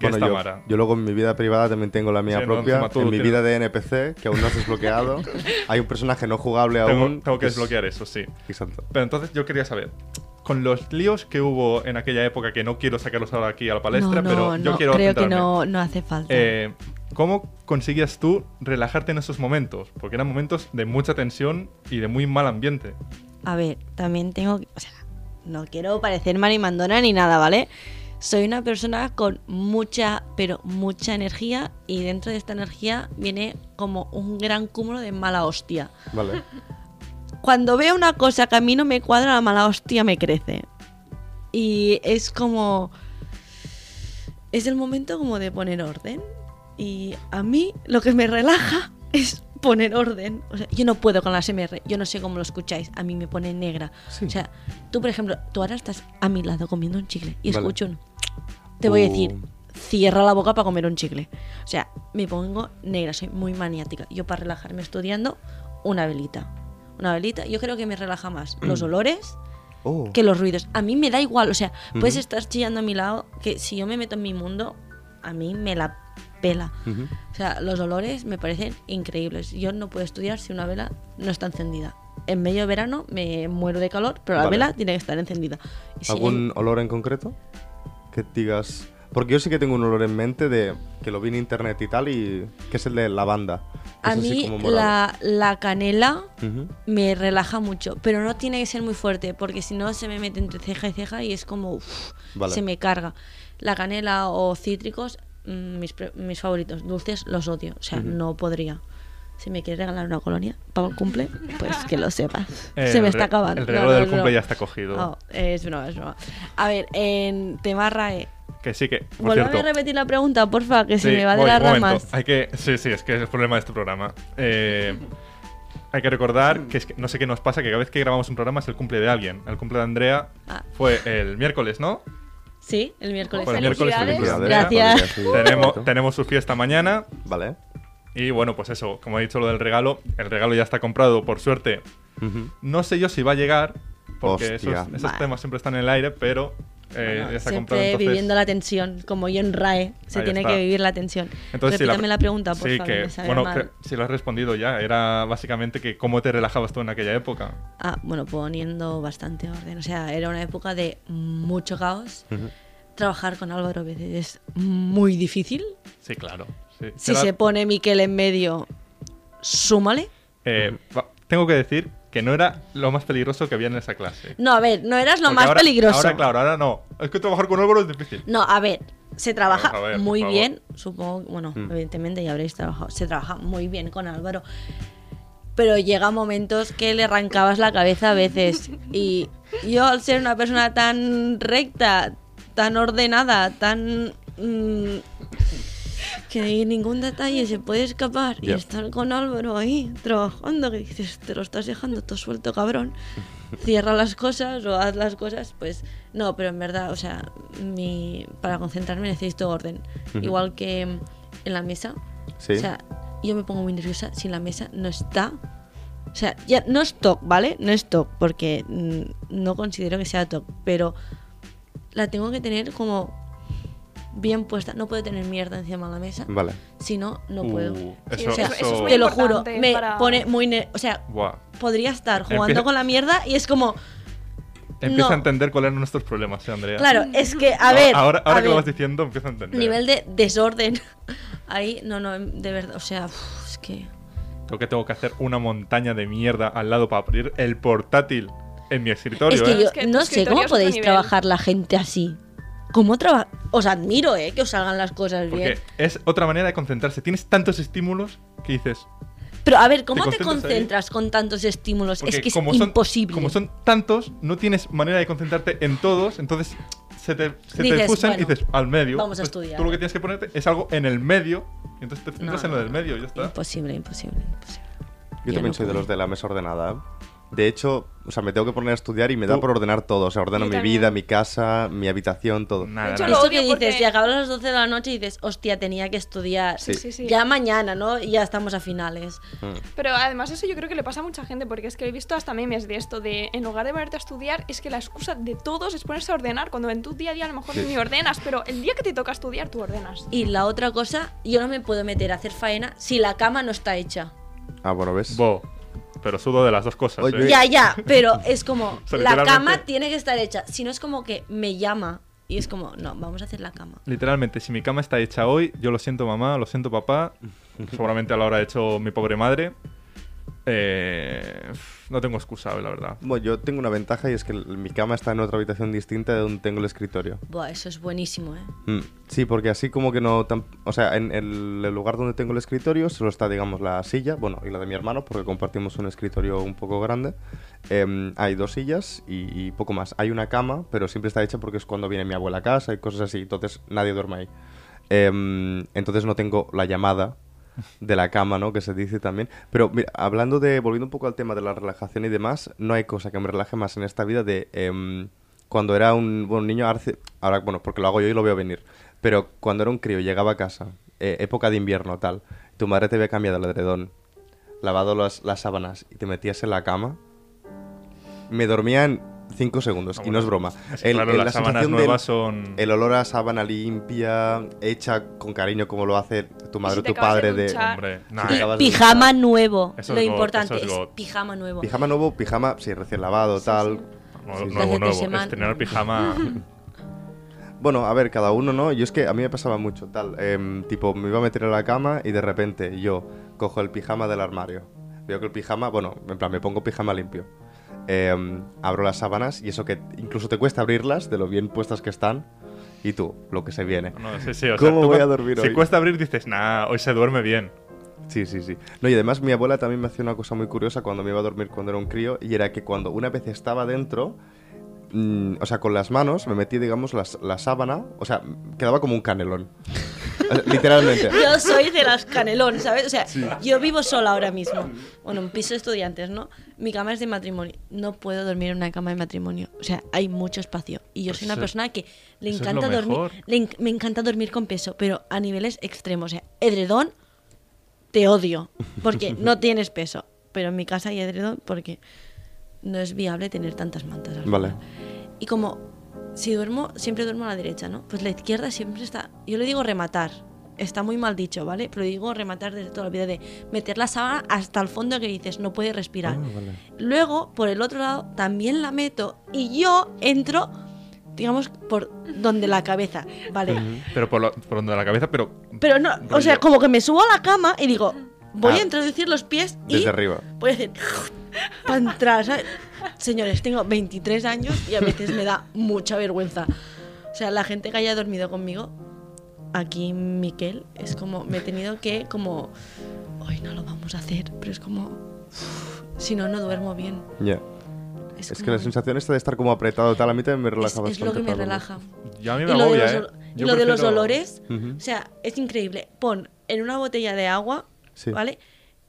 Speaker 2: que
Speaker 1: Bueno,
Speaker 2: es
Speaker 1: yo,
Speaker 2: Tamara.
Speaker 1: yo luego en mi vida privada también tengo la mía
Speaker 2: Sí, no,
Speaker 1: propia.
Speaker 2: encima tú
Speaker 1: en mi
Speaker 2: tienes-
Speaker 1: vida de NPC, que aún no has desbloqueado. hay un personaje no jugable
Speaker 2: Tengo,
Speaker 1: aún.
Speaker 2: tengo que
Speaker 1: es-
Speaker 2: desbloquear eso, sí.
Speaker 1: Exacto.
Speaker 2: Pero entonces yo quería saber, con los líos que hubo en aquella época, que no quiero sacarlos ahora aquí a la palestra,
Speaker 3: No, no,
Speaker 2: pero yo
Speaker 3: no,
Speaker 2: quiero
Speaker 3: creo que
Speaker 2: centrarme.
Speaker 3: no, no hace falta.
Speaker 2: Eh, ¿Cómo conseguías tú relajarte en esos momentos? Porque eran momentos de mucha tensión y de muy mal ambiente.
Speaker 3: A ver, también tengo que. O sea, no quiero parecer marimandona ni nada, ¿vale? Soy una persona con mucha, pero mucha energía y dentro de esta energía viene como un gran cúmulo de mala hostia.
Speaker 1: Vale.
Speaker 3: Cuando veo una cosa que a mí no me cuadra, la mala hostia me crece. Y es como... Es el momento como de poner orden. Y a mí lo que me relaja es poner orden. O sea, yo no puedo con las MR, yo no sé cómo lo escucháis, a mí me pone negra.
Speaker 1: Sí.
Speaker 3: O sea, tú, por ejemplo, tú ahora estás a mi lado comiendo un chicle y
Speaker 1: Vale.
Speaker 3: escucho un... Te voy a decir,
Speaker 1: Uh.
Speaker 3: cierra la boca para comer un chicle. O sea, me pongo negra, soy muy maniática. Yo para relajarme estudiando, una velita. Una velita, yo creo que me relaja más
Speaker 1: Mm.
Speaker 3: los olores
Speaker 1: Oh.
Speaker 3: que los ruidos. A mí me da igual, o sea, puedes
Speaker 1: Ujú.
Speaker 3: estar chillando a mi lado, que si yo me meto en mi mundo, a mí me la pela.
Speaker 1: Ujú.
Speaker 3: O sea, los olores me parecen increíbles. Yo no puedo estudiar si una vela no está encendida. En medio de verano me muero de calor, pero la
Speaker 1: Vale.
Speaker 3: vela tiene que estar encendida. Y si
Speaker 1: ¿Algún
Speaker 3: hay-
Speaker 1: olor en concreto? Que digas. Porque yo sí que tengo un olor en mente de que lo vi en internet y tal, y que es el de lavanda. que
Speaker 3: a
Speaker 1: es así
Speaker 3: mí
Speaker 1: como morado.
Speaker 3: la, la canela
Speaker 1: Ujú.
Speaker 3: me relaja mucho, pero no tiene que ser muy fuerte, porque si no se me mete entre ceja y ceja y es como uf,
Speaker 1: Vale.
Speaker 3: se me carga. La canela o cítricos, mm, mis, pre- mis favoritos, dulces, los odio, o sea, no podría. Si me quieres regalar una colonia para un cumple, pues que lo sepas.
Speaker 2: Eh, El
Speaker 3: se me
Speaker 2: re-
Speaker 3: está acabando.
Speaker 2: el regalo del
Speaker 3: es
Speaker 2: cumple
Speaker 3: broma.
Speaker 2: ya está cogido.
Speaker 3: Oh, es broma, es broma. A ver, en tema RAE.
Speaker 2: Que sí que, por
Speaker 3: Vuelve
Speaker 2: cierto...
Speaker 3: a repetir la pregunta, porfa, que se
Speaker 2: sí,
Speaker 3: me va de
Speaker 2: voy,
Speaker 3: las
Speaker 2: un momento.
Speaker 3: ramas.
Speaker 2: Hay que, sí, sí, es que es el problema de este programa. Eh, hay que recordar que, es que no sé qué nos pasa, que cada vez que grabamos un programa es el cumple de alguien. El cumple de Andrea
Speaker 3: Ah.
Speaker 2: fue el miércoles, ¿no?
Speaker 3: Sí, el miércoles.
Speaker 2: Fue el miércoles el cumple de
Speaker 1: Felicidades.
Speaker 2: Andrea.
Speaker 3: Gracias.
Speaker 1: Vale, sí,
Speaker 2: Tenemos,
Speaker 1: perfecto.
Speaker 2: tenemos su fiesta mañana.
Speaker 1: Vale.
Speaker 2: Y bueno, pues eso, como he dicho lo del regalo, el regalo ya está comprado, por suerte.
Speaker 1: Ujú.
Speaker 2: No sé yo si va a llegar, porque esos,
Speaker 1: Hostia.
Speaker 2: esos
Speaker 3: Vale.
Speaker 2: temas siempre están en el aire, pero eh,
Speaker 3: Bueno,
Speaker 2: ya está
Speaker 3: siempre
Speaker 2: comprado. Entonces,
Speaker 3: viviendo la tensión, como yo en RAE, se
Speaker 2: Ahí
Speaker 3: tiene
Speaker 2: está.
Speaker 3: que vivir la tensión.
Speaker 2: entonces si
Speaker 3: Repítame la, pregunta, por
Speaker 2: sí,
Speaker 3: favor.
Speaker 2: que,
Speaker 3: me sabe
Speaker 2: bueno,
Speaker 3: mal.
Speaker 2: creo- si lo has respondido ya, era básicamente que cómo te relajabas tú en aquella época.
Speaker 3: Ah, bueno, poniendo bastante orden. O sea, era una época de mucho caos. Trabajar con Álvaro Vélez es muy difícil.
Speaker 2: Sí, claro.
Speaker 3: Si se pone Miquel en medio, súmale.
Speaker 2: eh, tengo que decir que no era lo más peligroso que había en esa clase.
Speaker 3: No, a ver, no eras lo
Speaker 2: Porque
Speaker 3: más
Speaker 2: ahora-
Speaker 3: peligroso.
Speaker 2: Ahora, claro, ahora no. Es que trabajar con Álvaro es difícil.
Speaker 3: No, a ver, se trabaja
Speaker 2: Vamos a ver, por
Speaker 3: muy
Speaker 2: favor.
Speaker 3: bien, supongo, bueno,
Speaker 1: Mm.
Speaker 3: evidentemente ya habréis trabajado, se trabaja muy bien con Álvaro, pero llega momentos que le arrancabas la cabeza a veces y yo al ser una persona tan recta, tan ordenada, tan... mm, que ningún detalle se puede escapar
Speaker 1: Ya.
Speaker 3: y estar con Álvaro ahí trabajando que dices te lo estás dejando todo suelto cabrón cierra las cosas o haz las cosas pues no pero en verdad o sea mi, para concentrarme necesito orden
Speaker 1: Ujú.
Speaker 3: igual que mm, en la mesa
Speaker 1: Sí.
Speaker 3: o sea yo me pongo muy nerviosa si la mesa no está o sea ya no es TOC vale no es TOC porque mm, no considero que sea TOC pero la tengo que tener como bien puesta no puedo tener mierda encima de la mesa
Speaker 1: Vale.
Speaker 3: si no, no
Speaker 2: Uh,
Speaker 3: puedo.
Speaker 2: Eso,
Speaker 4: eso-
Speaker 2: eso,
Speaker 4: eso es muy
Speaker 3: Te lo juro,
Speaker 4: importante
Speaker 3: me
Speaker 4: para-
Speaker 3: pone muy... ne- o sea,
Speaker 2: Buah.
Speaker 3: podría estar jugando
Speaker 2: Empie-
Speaker 3: con la mierda y es como...
Speaker 2: Empiezo
Speaker 3: No.
Speaker 2: a entender cuáles eran nuestros problemas, eh, Andrea.
Speaker 3: Claro, es que, a
Speaker 2: Ah,
Speaker 3: ver...
Speaker 2: Ahora, ahora
Speaker 3: a
Speaker 2: que lo
Speaker 3: ver,
Speaker 2: vas diciendo, empiezo a entender.
Speaker 3: Nivel de desorden. Ahí, no, no, de verdad, o sea, uf, es que...
Speaker 2: Creo que tengo que hacer una montaña de mierda al lado para abrir el portátil en mi escritorio,
Speaker 3: es que
Speaker 2: ¿eh?
Speaker 3: yo
Speaker 4: Es que tu
Speaker 3: no sé
Speaker 4: escritorio
Speaker 3: cómo
Speaker 4: es otro
Speaker 3: podéis
Speaker 4: nivel.
Speaker 3: trabajar la gente así. ¿Cómo trabajar? Os admiro, ¿eh? Que os salgan las cosas
Speaker 2: Porque
Speaker 3: bien.
Speaker 2: es otra manera de concentrarse. Tienes tantos estímulos que dices.
Speaker 3: Pero a ver, ¿cómo te,
Speaker 2: concentras ahí?
Speaker 3: concentras con tantos estímulos?
Speaker 2: Porque
Speaker 3: es que es
Speaker 2: como son,
Speaker 3: imposible.
Speaker 2: Como son tantos, no tienes manera de concentrarte en todos, entonces se te, se te
Speaker 3: Dices,
Speaker 2: fusan y
Speaker 3: bueno,
Speaker 2: dices al medio.
Speaker 3: vamos a
Speaker 2: Pues
Speaker 3: estudiar.
Speaker 2: Tú lo que tienes que ponerte es algo en el medio, y entonces te
Speaker 3: No,
Speaker 2: centras en
Speaker 3: no,
Speaker 2: lo del
Speaker 3: no,
Speaker 2: medio, y ya está.
Speaker 3: Imposible, imposible, imposible.
Speaker 1: Yo
Speaker 3: Yo
Speaker 1: también
Speaker 3: no
Speaker 1: soy de
Speaker 3: puedo.
Speaker 1: los de la mesa ordenada. ¿eh? De hecho, o sea, me tengo que poner a estudiar y me da
Speaker 2: Tú-
Speaker 1: por ordenar todo. O sea, ordeno
Speaker 4: Yo
Speaker 1: mi
Speaker 4: también.
Speaker 1: vida, mi casa, mi habitación, todo.
Speaker 2: Nada,
Speaker 4: Yo
Speaker 2: nada.
Speaker 4: lo
Speaker 3: Eso
Speaker 4: odio
Speaker 3: que dices,
Speaker 4: porque-
Speaker 3: y acabas a las 12 de la noche y dices, hostia, tenía que estudiar.
Speaker 1: Sí.
Speaker 4: Sí, sí.
Speaker 3: Ya mañana, ¿no? Y ya estamos a finales.
Speaker 1: Mm.
Speaker 4: Pero además eso yo creo que le pasa a mucha gente porque es que he visto hasta memes de esto de en lugar de ponerte a estudiar es que la excusa de todos es ponerse a ordenar cuando en tu día a día a lo mejor
Speaker 1: Sí.
Speaker 4: ni ordenas, pero el día que te toca estudiar tú ordenas.
Speaker 3: Y la otra cosa, yo no me puedo meter a hacer faena si la cama no está hecha.
Speaker 1: Ah, bueno, ¿ves?
Speaker 2: Bo, pero sudo de las dos cosas.
Speaker 1: Oye,
Speaker 2: ¿eh?
Speaker 3: Ya, ya, pero es como,
Speaker 2: sea,
Speaker 3: la
Speaker 2: literalmente-
Speaker 3: cama tiene que estar hecha. Si no es como que me llama y es como, no, vamos a hacer la cama.
Speaker 2: Literalmente, si mi cama está hecha hoy, yo lo siento mamá, lo siento papá, seguramente lo habrá hecho mi pobre madre. Eh, no tengo excusa, la verdad.
Speaker 1: Bueno, yo tengo una ventaja y es que el- mi cama está en otra habitación distinta de donde tengo el escritorio.
Speaker 3: Buah, eso es buenísimo, ¿eh?
Speaker 1: Mm, Sí, porque así como que no... tan- O sea, en el, el lugar donde tengo el escritorio solo está, digamos, la silla, bueno, y la de mi hermano, porque compartimos un escritorio un poco grande. Em, hay dos sillas y, y poco más. Hay una cama, pero siempre está hecha porque es cuando viene mi abuela a casa y cosas así, entonces nadie duerme ahí. Em, entonces no tengo la llamada de la cama, ¿no? Que se dice también. Pero mira, hablando de, volviendo un poco al tema de la relajación y demás, no hay cosa que me relaje más en esta vida de em, cuando era un, bueno, niño, arce- ahora, bueno, porque lo hago yo y lo veo venir, pero cuando era un crío, llegaba a casa, eh, época de invierno, tal, tu madre te había cambiado el edredón, lavado las, las sábanas y te metías en la cama, me dormía en 5 segundos,
Speaker 2: Ah,
Speaker 1: y no
Speaker 2: bueno.
Speaker 1: es broma.
Speaker 2: Sí,
Speaker 1: El-
Speaker 2: claro,
Speaker 1: el-
Speaker 2: las sábanas
Speaker 1: sensación del-
Speaker 2: nuevas son.
Speaker 1: el olor a sábana limpia, hecha con cariño como lo hace tu madre o
Speaker 4: te
Speaker 1: tu
Speaker 4: acabas de
Speaker 1: padre de...
Speaker 4: duchar.
Speaker 2: Hombre,
Speaker 1: Sí,
Speaker 2: nah,
Speaker 3: Pi-
Speaker 2: eh,
Speaker 1: acabas de
Speaker 3: pijama
Speaker 1: duchar.
Speaker 3: nuevo.
Speaker 2: Eso es
Speaker 3: lo
Speaker 2: got,
Speaker 3: importante
Speaker 2: eso es
Speaker 3: es,
Speaker 2: got.
Speaker 3: pijama nuevo.
Speaker 1: Pijama nuevo, pijama, sí, recién lavado, tal.
Speaker 2: no-
Speaker 1: sí, sí.
Speaker 2: nuevo,
Speaker 3: Hace tres
Speaker 2: nuevo.
Speaker 3: semanas.
Speaker 2: Estrenar pijama.
Speaker 1: Bueno, a ver, cada uno, ¿no? Yo es que a mí me pasaba mucho, tal. em, tipo, me iba a meter en la cama y de repente yo cojo el pijama del armario. Veo que el pijama, bueno, en plan, me pongo pijama limpio. Em, abro las sábanas y eso que incluso te cuesta abrirlas de lo bien puestas que están. Y tú, lo que se viene.
Speaker 2: No, sí, sí, o sea,
Speaker 1: ¿Cómo
Speaker 2: tú
Speaker 1: voy a
Speaker 2: cu-
Speaker 1: dormir
Speaker 2: Si
Speaker 1: hoy?
Speaker 2: cuesta abrir, dices, nah, hoy se duerme bien.
Speaker 1: Sí, sí, sí. No, y además mi abuela también me hacía una cosa muy curiosa cuando me iba a dormir cuando era un crío, y era que cuando una vez estaba dentro, mm, o sea, con las manos me metí, digamos, las- la sábana, o sea, m- quedaba como un canelón. O sea, Literalmente.
Speaker 3: Yo soy de las canelón, ¿sabes? O sea, yo vivo sola ahora mismo. Bueno, un piso de estudiantes, ¿no? Mi cama es de matrimonio. No puedo dormir en una cama de matrimonio. O sea, hay mucho espacio. Y yo
Speaker 2: Pues
Speaker 3: soy una
Speaker 2: eso-
Speaker 3: persona que le
Speaker 2: eso es
Speaker 3: encanta
Speaker 2: lo mejor.
Speaker 3: dormir. le en- me encanta dormir con peso, pero a niveles extremos. O sea, edredón, te odio. Porque no tienes peso. Pero en mi casa hay edredón porque no es viable tener tantas mantas. al
Speaker 1: Vale.
Speaker 3: final. Y como si duermo, siempre duermo a la derecha, ¿no? Pues la izquierda siempre está. Yo le digo rematar. Está muy mal dicho, ¿vale? Pero digo rematar desde toda la vida, de meter la sábana hasta el fondo que dices, no puede respirar.
Speaker 1: Ah,
Speaker 3: Luego, por el otro lado, también la meto y yo entro, digamos, por donde la cabeza, ¿vale?
Speaker 1: Mm.
Speaker 2: Pero por, lo- por donde la cabeza, pero.
Speaker 3: Pero no, o sea,
Speaker 2: Rollo.
Speaker 3: como que me subo a la cama y digo, voy
Speaker 1: Ah.
Speaker 3: a introducir los pies y
Speaker 1: Desde arriba.
Speaker 3: voy a hacer para Pues, entrar. ¿sabes? Señores, tengo 23 años y a veces me da mucha vergüenza. O sea, la gente que haya dormido conmigo, aquí Miquel, es como, me he tenido que, como, hoy no lo vamos a hacer, pero es como, uf, si no, no duermo bien.
Speaker 1: Ya.
Speaker 3: Es,
Speaker 1: Es que
Speaker 3: como-
Speaker 1: la sensación esta de estar como apretado tal, a mí también me
Speaker 3: es,
Speaker 1: relaja bastante.
Speaker 3: es lo que me
Speaker 1: para dormir.
Speaker 3: relaja.
Speaker 2: Yo a mí
Speaker 3: Y
Speaker 2: me
Speaker 3: lo, de
Speaker 2: agobia,
Speaker 3: los,
Speaker 2: ¿eh?
Speaker 3: ol- y
Speaker 2: Yo
Speaker 3: lo de los
Speaker 2: prefiero-
Speaker 3: olores,
Speaker 1: Ujú.
Speaker 3: o sea, es increíble. Pon en una botella de agua,
Speaker 1: Sí.
Speaker 3: ¿vale?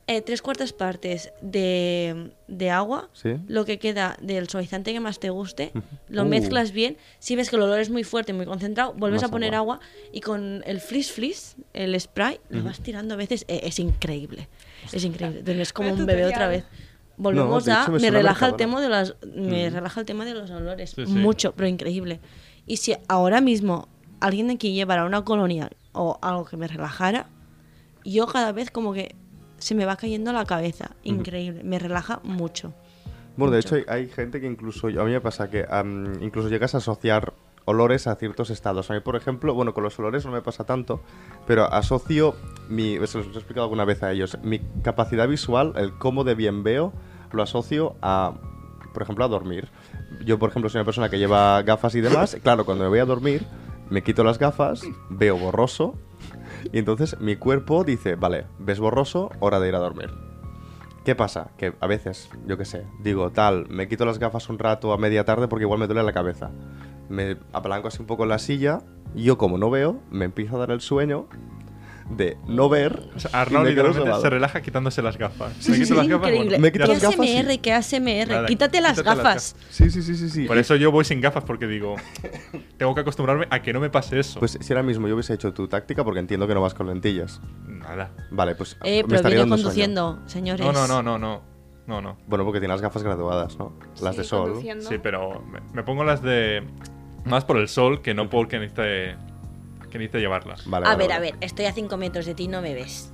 Speaker 3: Eh, tres cuartas partes de, de agua,
Speaker 1: Sí.
Speaker 3: lo que queda del suavizante que más te guste, lo
Speaker 1: Uh.
Speaker 3: mezclas bien. Si ves que el olor es muy fuerte, muy concentrado, vuelves
Speaker 1: Más
Speaker 3: a poner
Speaker 1: agua.
Speaker 3: agua. y con el flis flis, el spray, lo vas tirando a veces. Eh, es increíble. Es increíble. Duermes como
Speaker 4: Vaya
Speaker 3: un bebé otra
Speaker 4: tutorial.
Speaker 3: vez. Volvemos
Speaker 1: de
Speaker 3: a.
Speaker 1: hecho, me
Speaker 3: Me
Speaker 1: suena
Speaker 3: relaja el
Speaker 1: Mercadona.
Speaker 3: tema de las. Me relaja el tema de los olores.
Speaker 2: Sí, sí.
Speaker 3: Mucho, pero increíble. Y si ahora mismo alguien de aquí llevara una colonia o algo que me relajara, yo cada vez como que se me va cayendo la cabeza. Increíble. Me relaja mucho.
Speaker 1: Bueno, de hecho
Speaker 3: Mucho.
Speaker 1: hay, hay gente que incluso, a mí me pasa que am, incluso llegas a asociar olores a ciertos estados. A mí, por ejemplo, bueno, con los olores no me pasa tanto, pero asocio mi, se los he explicado alguna vez a ellos, mi capacidad visual, el cómo de bien veo, lo asocio a, por ejemplo, a dormir. Yo, por ejemplo, soy una persona que lleva gafas y demás. Claro, cuando me voy a dormir, me quito las gafas, veo borroso, y entonces mi cuerpo dice, vale, ves borroso, hora de ir a dormir. ¿Qué pasa? Que a veces, yo qué sé, digo tal, me quito las gafas un rato a media tarde porque igual me duele la cabeza. Me apalanco así un poco en la silla y yo como no veo, me empieza a dar el sueño de no ver.
Speaker 2: O sea,
Speaker 1: y
Speaker 2: Arnaud
Speaker 1: me quedo
Speaker 2: literalmente
Speaker 1: sobado.
Speaker 2: se relaja quitándose las gafas. Me quito
Speaker 3: Es
Speaker 2: las gafas,
Speaker 3: increíble.
Speaker 2: bueno,
Speaker 1: Me quito
Speaker 2: ya
Speaker 3: ¿Qué
Speaker 1: las
Speaker 2: está.
Speaker 1: gafas y-
Speaker 3: ASMR? ¿Qué ASMR?
Speaker 2: Nada,
Speaker 3: quítate las
Speaker 2: quítate las
Speaker 3: gafas.
Speaker 1: Sí, sí, sí, sí, sí.
Speaker 2: Por eso yo voy sin gafas porque digo, tengo que acostumbrarme a que no me pase eso.
Speaker 1: Pues si ahora mismo yo hubiese hecho tu táctica, porque entiendo que no vas con lentillas.
Speaker 2: nada.
Speaker 1: Vale, pues
Speaker 3: Eh,
Speaker 1: me
Speaker 3: pero
Speaker 1: estaría
Speaker 3: viene
Speaker 1: dando sueño.
Speaker 3: conduciendo, señores.
Speaker 2: No, no, no, no, no. No, no.
Speaker 1: Bueno, porque tiene las gafas graduadas, ¿no? Las
Speaker 4: Sí,
Speaker 1: de sol.
Speaker 4: conduciendo.
Speaker 2: Sí, pero me, me pongo las de. Más por el sol que no porque necesite, que necesite llevarlas.
Speaker 1: Vale,
Speaker 3: A
Speaker 1: vale,
Speaker 3: ver, a
Speaker 1: vale.
Speaker 3: ver, estoy a 5 metros de ti, no me ves.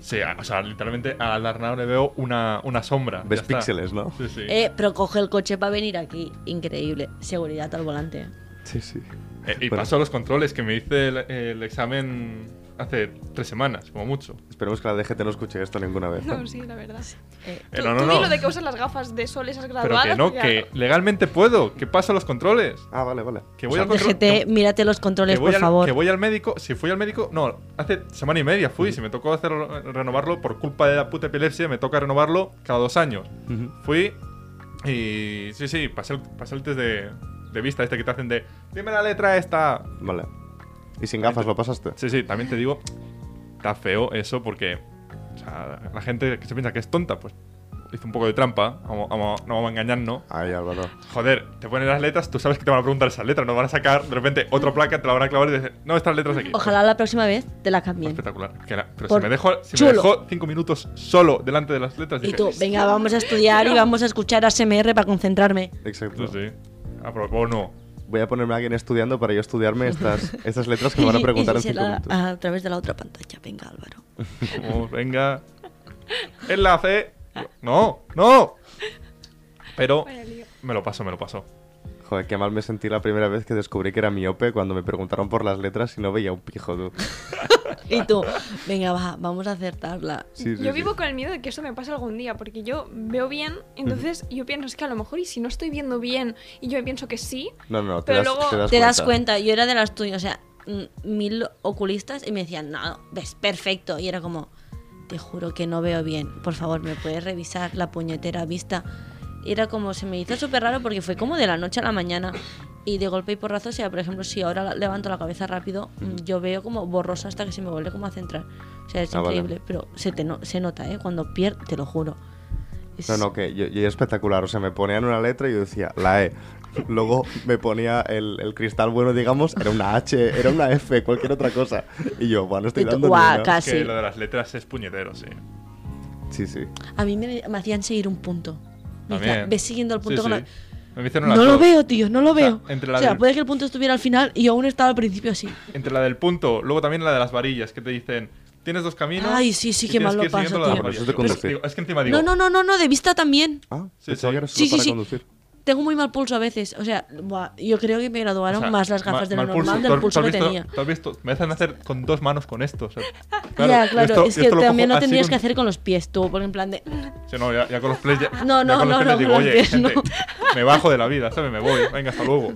Speaker 2: Sí, a- o sea, literalmente al Arnaud le veo una, una sombra.
Speaker 1: Ves
Speaker 2: ya está.
Speaker 1: píxeles, ¿no?
Speaker 2: Sí, sí.
Speaker 3: Eh, pero coge el coche para venir aquí. Increíble. Seguridad al volante.
Speaker 1: Sí, sí.
Speaker 2: Eh, y
Speaker 1: bueno.
Speaker 2: paso a los controles que me hice el, el examen hace tres semanas, como mucho.
Speaker 1: Esperemos que la DGT no escuche esto ninguna vez. ¿eh?
Speaker 4: No, sí, la verdad.
Speaker 3: Eh,
Speaker 2: Eh,
Speaker 4: Tú,
Speaker 2: no, no,
Speaker 4: tú
Speaker 2: no.
Speaker 4: di lo de que usas las gafas de sol esas
Speaker 2: Pero
Speaker 4: graduadas.
Speaker 2: que no,
Speaker 4: ya-
Speaker 2: que legalmente puedo, que paso a los controles.
Speaker 1: Ah, vale, vale.
Speaker 2: Que voy
Speaker 1: O sea,
Speaker 2: al control.
Speaker 4: E,
Speaker 3: DGT, mírate los
Speaker 2: que
Speaker 3: controles,
Speaker 2: voy
Speaker 3: por
Speaker 2: al,
Speaker 3: favor.
Speaker 2: que voy al médico, si fui al médico, no, hace semana y media
Speaker 3: Mm.
Speaker 2: fui, si me tocó hacerlo, renovarlo por culpa de la puta epilepsia, me toca renovarlo cada dos años.
Speaker 1: Ujú.
Speaker 2: Fui y sí, sí, pasé el, pasé el test de, de vista este que te hacen de, dime la letra esta.
Speaker 1: Vale. Y sin gafas lo pasaste.
Speaker 2: Sí, sí, también te digo, está feo eso porque o sea, la gente que se piensa que es tonta, pues hizo un poco de trampa. Vamos- vamos- no vamos a engañarnos.
Speaker 1: Ay, Álvaro.
Speaker 2: Joder, te ponen las letras, tú sabes que te van a preguntar esas letras, no van a sacar de repente otra placa, te la van a clavar y decir, no, estas letras aquí.
Speaker 3: Ojalá la próxima vez te la cambien.
Speaker 2: Espectacular. Que era- pero si
Speaker 3: Por
Speaker 2: me, dejó, si me
Speaker 3: chulo.
Speaker 2: dejó cinco minutos solo delante de las letras,
Speaker 3: Y
Speaker 2: dije,
Speaker 3: tú, venga, vamos a estudiar y vamos a escuchar ASMR para concentrarme.
Speaker 1: Exacto.
Speaker 2: Tú sí. Apro- o no.
Speaker 1: Voy a ponerme a alguien estudiando para yo estudiarme estas, estas letras que me van a
Speaker 3: Y-
Speaker 1: preguntar
Speaker 3: y
Speaker 1: en
Speaker 3: se
Speaker 1: cinco
Speaker 3: la- Ah.
Speaker 1: minutos.
Speaker 3: A través de la otra pantalla. Venga, Álvaro.
Speaker 2: Vamos, venga. Enlace. No, no. Pero
Speaker 4: Vaya lío.
Speaker 2: me lo paso, me lo paso.
Speaker 1: Joder, qué mal me sentí la primera vez que descubrí que era miope cuando me preguntaron por las letras y no veía un pijo, tú.
Speaker 3: Y tú, venga, va, vamos a acertarla.
Speaker 1: Sí, sí, sí.
Speaker 4: yo vivo con el miedo de que eso me pase algún día, porque yo veo bien, entonces yo pienso, es que a lo mejor y si no estoy viendo bien y yo pienso que sí,
Speaker 1: No, no, te
Speaker 4: Pero
Speaker 1: das,
Speaker 4: luego-
Speaker 1: te das
Speaker 3: Te das
Speaker 1: cuenta.
Speaker 3: cuenta, yo era de las tuyas, o sea, mm, mil oculistas y me decían, no, ves perfecto. Y era como, te juro que no veo bien, por favor, ¿me puedes revisar la puñetera vista? Y era como, se me hizo súper raro porque fue como de la noche a la mañana y de golpe y porrazo, o sea, por ejemplo, si ahora la- levanto la cabeza rápido, mm, yo veo como borrosa hasta que se me vuelve como a centrar. O sea, es
Speaker 1: Ah, vale.
Speaker 3: increíble, pero se, te no- se nota, ¿eh? Cuando pierdes, te lo juro. Es-
Speaker 1: No, no, que yo, yo era espectacular. O sea, me ponían una letra y yo decía la E. Luego me ponía el, el cristal bueno, digamos, era una H, era una F, cualquier otra cosa. Y yo, bueno, estoy
Speaker 3: Y tú,
Speaker 1: dando. ni
Speaker 3: guau,
Speaker 1: una.
Speaker 3: casi. Ah,
Speaker 2: que
Speaker 3: sí.
Speaker 2: lo de las letras es puñetero, sí.
Speaker 1: Sí, sí.
Speaker 3: A mí me, me hacían seguir un punto. Me decían,
Speaker 2: También.
Speaker 3: ves siguiendo el
Speaker 2: Sí,
Speaker 3: punto con la-
Speaker 2: sí. Me hicieron
Speaker 3: No
Speaker 2: las
Speaker 3: lo
Speaker 2: dos.
Speaker 3: veo, tío, no lo
Speaker 2: O sea,
Speaker 3: veo. O sea,
Speaker 2: entre la del-
Speaker 3: puede que el punto estuviera al final y yo aún estaba al principio así.
Speaker 2: Entre la del punto, luego también la de las varillas, que te dicen, tienes dos caminos.
Speaker 3: Ay, sí, sí,
Speaker 2: y
Speaker 3: qué
Speaker 2: tienes
Speaker 3: mal
Speaker 2: que
Speaker 3: lo
Speaker 2: ir siguiendo
Speaker 3: paso,
Speaker 2: la de las
Speaker 3: tío.
Speaker 1: Por eso
Speaker 2: varillas.
Speaker 1: te
Speaker 2: Pero
Speaker 1: conducí.
Speaker 2: digo, es que encima Ah, digo,
Speaker 3: No, no, no, no, no, de vista también.
Speaker 1: Ah,
Speaker 2: Sí,
Speaker 1: pensaba
Speaker 2: sí.
Speaker 1: que era solo
Speaker 3: Sí, sí,
Speaker 1: para
Speaker 3: sí.
Speaker 1: conducir.
Speaker 3: Tengo muy mal pulso a veces. O sea, buah, yo creo que me
Speaker 2: o
Speaker 3: graduaron
Speaker 2: sea,
Speaker 3: más las
Speaker 2: ma-
Speaker 3: gafas de lo
Speaker 2: mal pulso.
Speaker 3: normal
Speaker 2: ¿Tú
Speaker 3: del
Speaker 2: has-
Speaker 3: pulso
Speaker 2: tú
Speaker 3: que
Speaker 2: has visto-
Speaker 3: tenía.
Speaker 2: ¿Tú has visto? Me hacen hacer con dos manos con esto. o sea,
Speaker 3: ya,
Speaker 2: yo
Speaker 3: claro,
Speaker 2: esto-
Speaker 3: es
Speaker 2: yo
Speaker 3: que
Speaker 2: esto lo
Speaker 3: también
Speaker 2: cojo
Speaker 3: lo
Speaker 2: así
Speaker 3: tendrías que
Speaker 2: con-
Speaker 3: hacer con los pies, tú, por en plan de.
Speaker 2: Sí, no, ya, ya con los plays ya,
Speaker 3: No,
Speaker 2: ya
Speaker 3: no,
Speaker 2: con los
Speaker 3: no,
Speaker 2: plays
Speaker 3: no,
Speaker 2: digo,
Speaker 3: con los
Speaker 2: oye,
Speaker 3: pies, no".
Speaker 2: gente, me bajo de la vida, ¿sabes? Me voy, venga, hasta luego.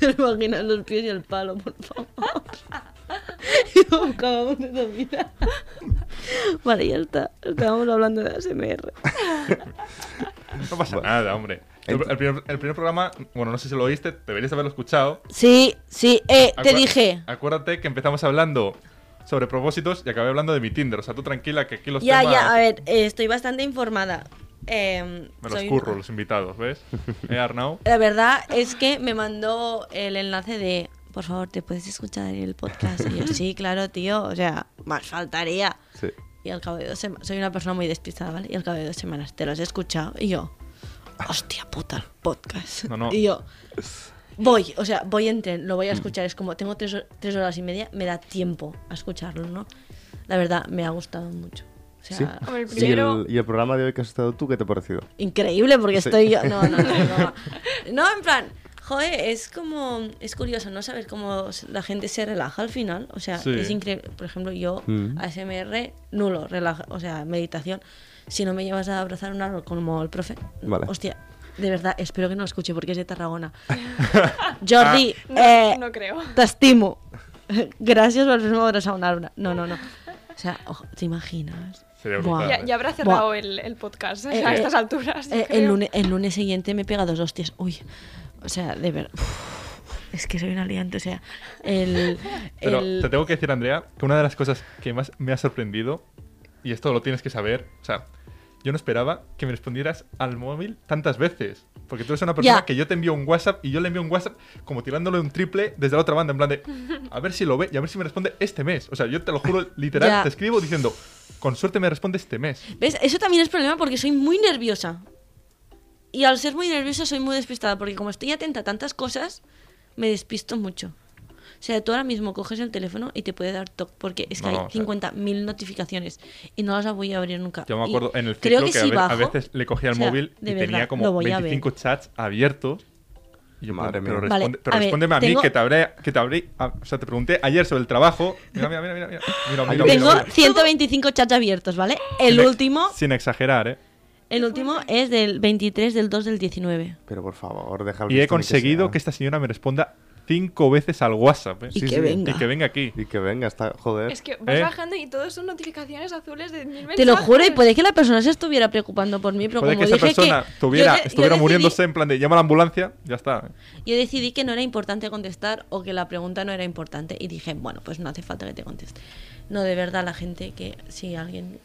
Speaker 3: Te lo imaginas los pies y el palo, por favor. y nos acabamos de esa vida. Vale, ya está. Estábamos hablando de ASMR.
Speaker 2: No pasa nada, hombre. El, el primer, el primer programa, bueno, no sé si lo oíste, deberías haberlo escuchado.
Speaker 3: Sí, sí, eh, te
Speaker 2: Acuérdate-
Speaker 3: dije.
Speaker 2: Acuérdate que empezamos hablando sobre propósitos y acabé hablando de mi Tinder. O sea, tú tranquila que aquí los
Speaker 3: Ya,
Speaker 2: temas...
Speaker 3: ya, a ver, eh, estoy bastante informada. Eh,
Speaker 2: Me los
Speaker 3: soy-
Speaker 2: curro, los invitados, ¿ves? Eh, Arnau.
Speaker 3: La verdad es que me mandó el enlace de, por favor, ¿te puedes escuchar el podcast? Y yo, sí, claro, tío, o sea, más faltaría.
Speaker 1: Sí.
Speaker 3: Y al cabo de dos semanas, soy una persona muy despistada, ¿vale? Y al cabo de dos semanas, ¿te lo has escuchado? Y yo, hostia puta, el podcast.
Speaker 2: No, Mm. no.
Speaker 3: Y yo, voy, o sea, voy en tren, lo voy a escuchar. Es como, tengo tres, ho- tres horas y media, me da tiempo a escucharlo, ¿no? La verdad, me ha gustado mucho. O sea,
Speaker 1: Sí.
Speaker 4: Hombre, el
Speaker 1: ¿Y,
Speaker 4: primero,
Speaker 1: el, y el programa de hoy que has estado tú, ¿qué te ha parecido?
Speaker 3: increíble porque
Speaker 1: Sí.
Speaker 3: estoy yo. No, no, no, no. No, en plan, joder, es como. Es curioso, ¿no? Saber cómo la gente se relaja al final. O sea,
Speaker 2: Sí.
Speaker 3: es increíble. Por ejemplo, yo,
Speaker 1: Mm.
Speaker 3: ASMR, nulo, relaja, o sea, meditación. Si no me llevas a abrazar un árbol como el profe,
Speaker 1: Vale.
Speaker 3: hostia, de verdad, espero que no lo escuche porque es de Tarragona. Jordi, eh,
Speaker 4: Ah. no creo.
Speaker 3: te estimo. Gracias por haberme abrazado un árbol. No, no, no. O sea, ojo, ¿te imaginas?
Speaker 2: Sería
Speaker 3: Buah.
Speaker 2: brutal.
Speaker 4: Ya, ya habrá cerrado el, el podcast
Speaker 3: Eh,
Speaker 4: a
Speaker 3: eh,
Speaker 4: estas alturas. yo
Speaker 3: Eh, el,
Speaker 4: creo.
Speaker 3: lunes, el lunes siguiente me pega dos hostias. Uy, o sea, de verdad. Es que soy una liante, o sea. El,
Speaker 2: Pero
Speaker 3: el-
Speaker 2: te tengo que decir, Andrea, que una de las cosas que más me ha sorprendido, y esto lo tienes que saber, o sea, yo no esperaba que me respondieras al móvil tantas veces. Porque tú eres una persona
Speaker 3: Ya.
Speaker 2: que yo te envío un WhatsApp y yo le envío un WhatsApp como tirándole un triple desde la otra banda, en plan de, a ver si lo ve y a ver si me responde este mes. O sea, yo te lo juro, literal,
Speaker 3: Ya.
Speaker 2: te escribo diciendo, con suerte me responde este mes.
Speaker 3: ¿Ves? Eso también es problema porque soy muy nerviosa. Y al ser muy nerviosa soy muy despistada porque como estoy atenta a tantas cosas, me despisto mucho. O sea, tú ahora mismo coges el teléfono y te puede dar toque porque es que
Speaker 2: No,
Speaker 3: hay
Speaker 2: no, o sea-
Speaker 3: 50.000 notificaciones y no las voy a abrir nunca.
Speaker 2: Yo me
Speaker 3: Y
Speaker 2: acuerdo en el
Speaker 3: creo
Speaker 2: ciclo que, a,
Speaker 3: si
Speaker 2: ve- a
Speaker 3: bajo-
Speaker 2: veces le cogía el
Speaker 3: o sea,
Speaker 2: móvil y
Speaker 3: de
Speaker 2: tenía
Speaker 3: verdad,
Speaker 2: como
Speaker 3: lo voy a ver.
Speaker 2: 25 chats abiertos. Y yo,
Speaker 1: Madre mía.
Speaker 2: pero, responde-
Speaker 3: Vale,
Speaker 2: pero
Speaker 3: a ver,
Speaker 2: respóndeme a mí
Speaker 3: tengo-
Speaker 2: que te habré, que te habré, a- o sea, te pregunté ayer sobre el trabajo. Mira, mira, mira, mira, mira, mira, mira, mira,
Speaker 3: Tengo
Speaker 2: mira.
Speaker 3: 125 chats abiertos, ¿vale? El
Speaker 2: Sin ex-
Speaker 3: último,
Speaker 2: sin exagerar, ¿eh?
Speaker 3: el último es del 23 del 2 del 19.
Speaker 1: Pero por favor, deja el
Speaker 2: Y he
Speaker 1: listón que
Speaker 2: conseguido
Speaker 1: sea.
Speaker 2: que esta señora me responda cinco veces al WhatsApp. ¿eh?
Speaker 3: Y
Speaker 1: Sí,
Speaker 3: que
Speaker 1: sí,
Speaker 3: venga.
Speaker 2: Y que venga aquí.
Speaker 1: Y que venga, está, joder.
Speaker 4: Es que vas
Speaker 2: ¿Eh?
Speaker 4: bajando y todos son notificaciones azules de mil mensajes.
Speaker 3: Te lo juro, y puede que la persona se estuviera preocupando por mí, pero
Speaker 2: Puede que esa
Speaker 3: como dije
Speaker 2: persona
Speaker 3: que
Speaker 2: tuviera-
Speaker 3: yo de- yo
Speaker 2: estuviera
Speaker 3: decidí-
Speaker 2: muriéndose en plan de llama a la ambulancia, ya está.
Speaker 3: Yo decidí que no era importante contestar o que la pregunta no era importante y dije, bueno, pues no hace falta que te conteste. No, de verdad, la gente que si alguien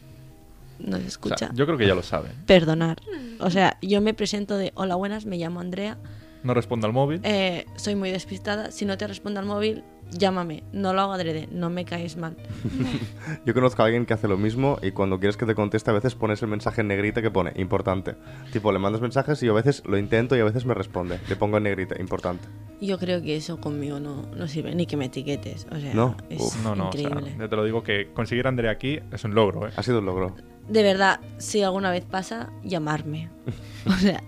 Speaker 3: nos
Speaker 2: O sea,
Speaker 3: escucha,
Speaker 2: yo creo que ya lo sabe.
Speaker 3: perdonar. O sea, yo me presento de, hola, buenas, me llamo Andrea,
Speaker 2: No responde al móvil.
Speaker 3: eh, soy muy despistada, si no te respondo al móvil, llámame, no lo hago adrede, no me caes mal.
Speaker 1: Yo conozco a alguien que hace lo mismo y cuando quieres que te conteste a veces pones el mensaje en negrita que pone importante. Tipo, le mandas mensajes y yo a veces lo intento y a veces me responde. Le pongo en negrita, importante.
Speaker 3: Yo creo que eso conmigo no, no sirve, ni que me etiquetes, o sea,
Speaker 1: No,
Speaker 3: es
Speaker 1: uf.
Speaker 2: no, no, o sea,
Speaker 3: increíble.
Speaker 2: ya te lo digo que conseguir a Andrea aquí es un logro, ¿eh?
Speaker 1: Ha sido un logro.
Speaker 3: De verdad, si alguna vez pasa, llamarme. O sea,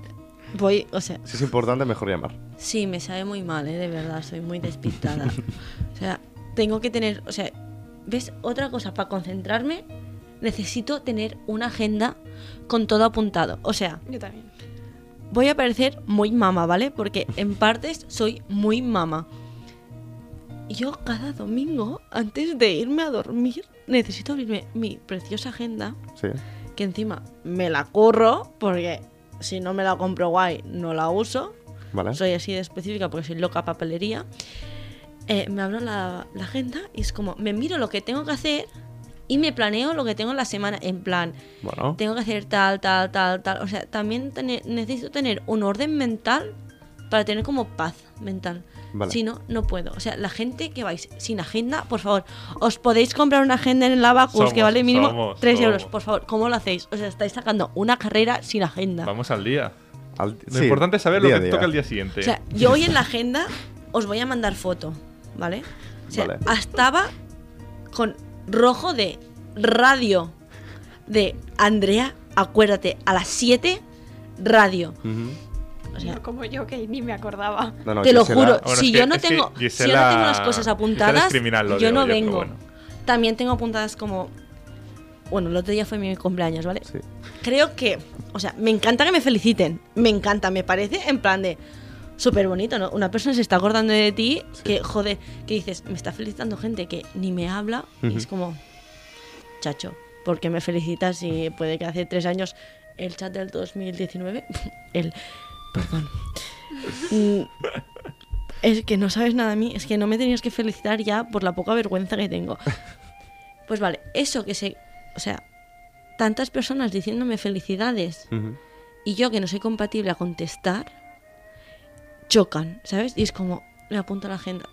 Speaker 3: voy, o sea,
Speaker 1: Si es importante, mejor llamar.
Speaker 3: sí, me sabe muy mal, ¿eh? de verdad, soy muy despistada. O sea, tengo que tener, o sea, ¿ves otra cosa? Para concentrarme, necesito tener una agenda con todo apuntado. O sea,
Speaker 4: Yo también.
Speaker 3: voy a parecer muy mama, ¿vale? Porque en partes soy muy mama. Yo cada domingo, antes de irme a dormir, necesito abrirme mi preciosa agenda
Speaker 1: Sí.
Speaker 3: que encima me la curro porque si no me la compro guay no la uso.
Speaker 1: ¿Vale?
Speaker 3: Soy así de específica porque soy loca papelería. Eh, me abro la, la agenda y es como me miro lo que tengo que hacer y me planeo lo que tengo la semana en plan
Speaker 1: Bueno.
Speaker 3: tengo que hacer tal tal tal tal o sea también tener- necesito tener un orden mental para tener como paz mental
Speaker 1: Vale.
Speaker 3: si no no puedo o sea la gente que vais sin agenda por favor os podéis comprar una agenda en el Abacus que
Speaker 2: Somos,
Speaker 3: vale mínimo
Speaker 2: somos,
Speaker 3: 3
Speaker 2: somos.
Speaker 3: euros por favor cómo lo hacéis o sea estáis sacando una carrera sin agenda
Speaker 2: Vamos al día.
Speaker 1: Al-
Speaker 2: Lo
Speaker 1: sí,
Speaker 2: importante es saber
Speaker 1: día a
Speaker 2: lo que te
Speaker 1: día.
Speaker 2: toca el día siguiente.
Speaker 3: O sea, yo hoy en la agenda os voy a mandar foto, ¿vale? O sea,
Speaker 1: Vale.
Speaker 3: estaba con rojo de radio de Andrea, acuérdate, a las 7, radio.
Speaker 1: Ujú.
Speaker 3: O sea,
Speaker 4: No como yo que ni me acordaba.
Speaker 1: No, no,
Speaker 3: te lo
Speaker 1: Gisela-
Speaker 3: juro,
Speaker 2: Bueno,
Speaker 3: si,
Speaker 2: es que-
Speaker 3: yo no
Speaker 2: es que
Speaker 3: tengo, si yo no
Speaker 2: Gisela-
Speaker 3: tengo las cosas
Speaker 2: Gisela es
Speaker 3: apuntadas,
Speaker 2: criminal, lo
Speaker 3: yo
Speaker 2: de
Speaker 3: no
Speaker 2: hoy, pero
Speaker 3: vengo.
Speaker 2: bueno.
Speaker 3: También tengo apuntadas como... Bueno, el otro día fue mi cumpleaños, ¿vale?
Speaker 1: Sí.
Speaker 3: creo que, o sea, me encanta que me feliciten. Me encanta, me parece en plan de súper bonito, ¿no? Una persona se está acordando de ti, que joder, que dices, me está felicitando gente que ni me habla, y es
Speaker 1: Ujú.
Speaker 3: como, chacho, ¿por qué me felicitas si puede que hace tres años el chat del 2019, el, perdón, Mm, es que no sabes nada de mí, es que no me tenías que felicitar ya por la poca vergüenza que tengo. Pues vale, eso que se, o sea, tantas personas diciéndome felicidades
Speaker 1: Ujú.
Speaker 3: y yo que no soy compatible a contestar, chocan, ¿sabes? Y es como, me apunto a la agenda.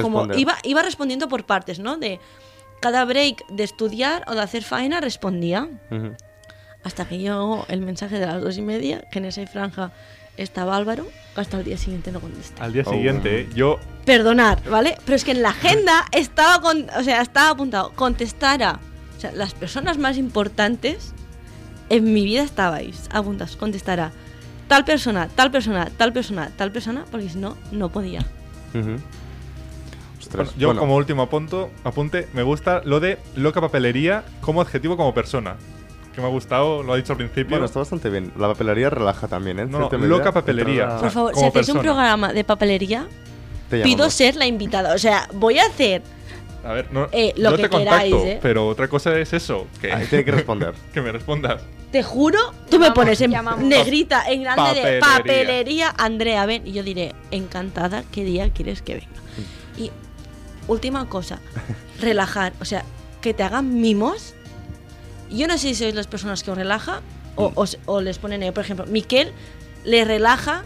Speaker 3: Como
Speaker 1: Responder.
Speaker 3: iba, iba respondiendo por partes, ¿no? De cada break de estudiar o de hacer faena respondía.
Speaker 1: Ujú.
Speaker 3: Hasta que llegó el mensaje de las dos y media, que en esa franja estaba Álvaro, que hasta el día siguiente no contesté.
Speaker 2: Al día
Speaker 1: Oh.
Speaker 2: siguiente, ¿eh? yo
Speaker 3: Perdonar, ¿vale? Pero es que en la agenda estaba, con, o sea, estaba apuntado, contestar a o sea, las personas más importantes en mi vida estabais apuntados, contestar a tal persona, tal persona, tal persona, tal persona, porque si no, no podía.
Speaker 1: Ujú. Ostras,
Speaker 2: Bueno, yo
Speaker 1: bueno,
Speaker 2: como último apunto, apunte, me gusta lo de loca papelería como adjetivo como persona. Que me ha gustado, lo ha dicho al principio.
Speaker 1: bueno, está bastante bien. La papelería relaja también, ¿eh? En
Speaker 2: No, no,
Speaker 1: cierta medida,
Speaker 2: loca papelería.
Speaker 1: entra-
Speaker 3: Por favor,
Speaker 2: Ah,
Speaker 3: si
Speaker 2: como
Speaker 3: hacéis un
Speaker 2: persona.
Speaker 3: programa de papelería,
Speaker 1: Te
Speaker 3: pido
Speaker 1: llamamos.
Speaker 3: ser la invitada. O sea, voy a hacer
Speaker 2: a ver, no,
Speaker 3: eh, lo
Speaker 2: yo
Speaker 3: que
Speaker 2: te contacto,
Speaker 3: queráis, ¿eh?
Speaker 2: pero otra cosa es eso, que,
Speaker 1: Ahí tiene que responder.
Speaker 2: que me respondas.
Speaker 3: Te juro, tú me
Speaker 4: Llamamos,
Speaker 3: pones en
Speaker 4: llamamos.
Speaker 3: negrita, en grande de
Speaker 2: Papelería.
Speaker 3: papelería, Andrea, ven. Y yo diré, encantada, ¿qué día quieres que venga?
Speaker 2: Mm.
Speaker 3: Y última cosa, relajar. O sea, que te hagan mimos. Yo no sé si sois las personas que os relaja o,
Speaker 2: Mm.
Speaker 3: os- o les ponen, eh, por ejemplo, Miquel le relaja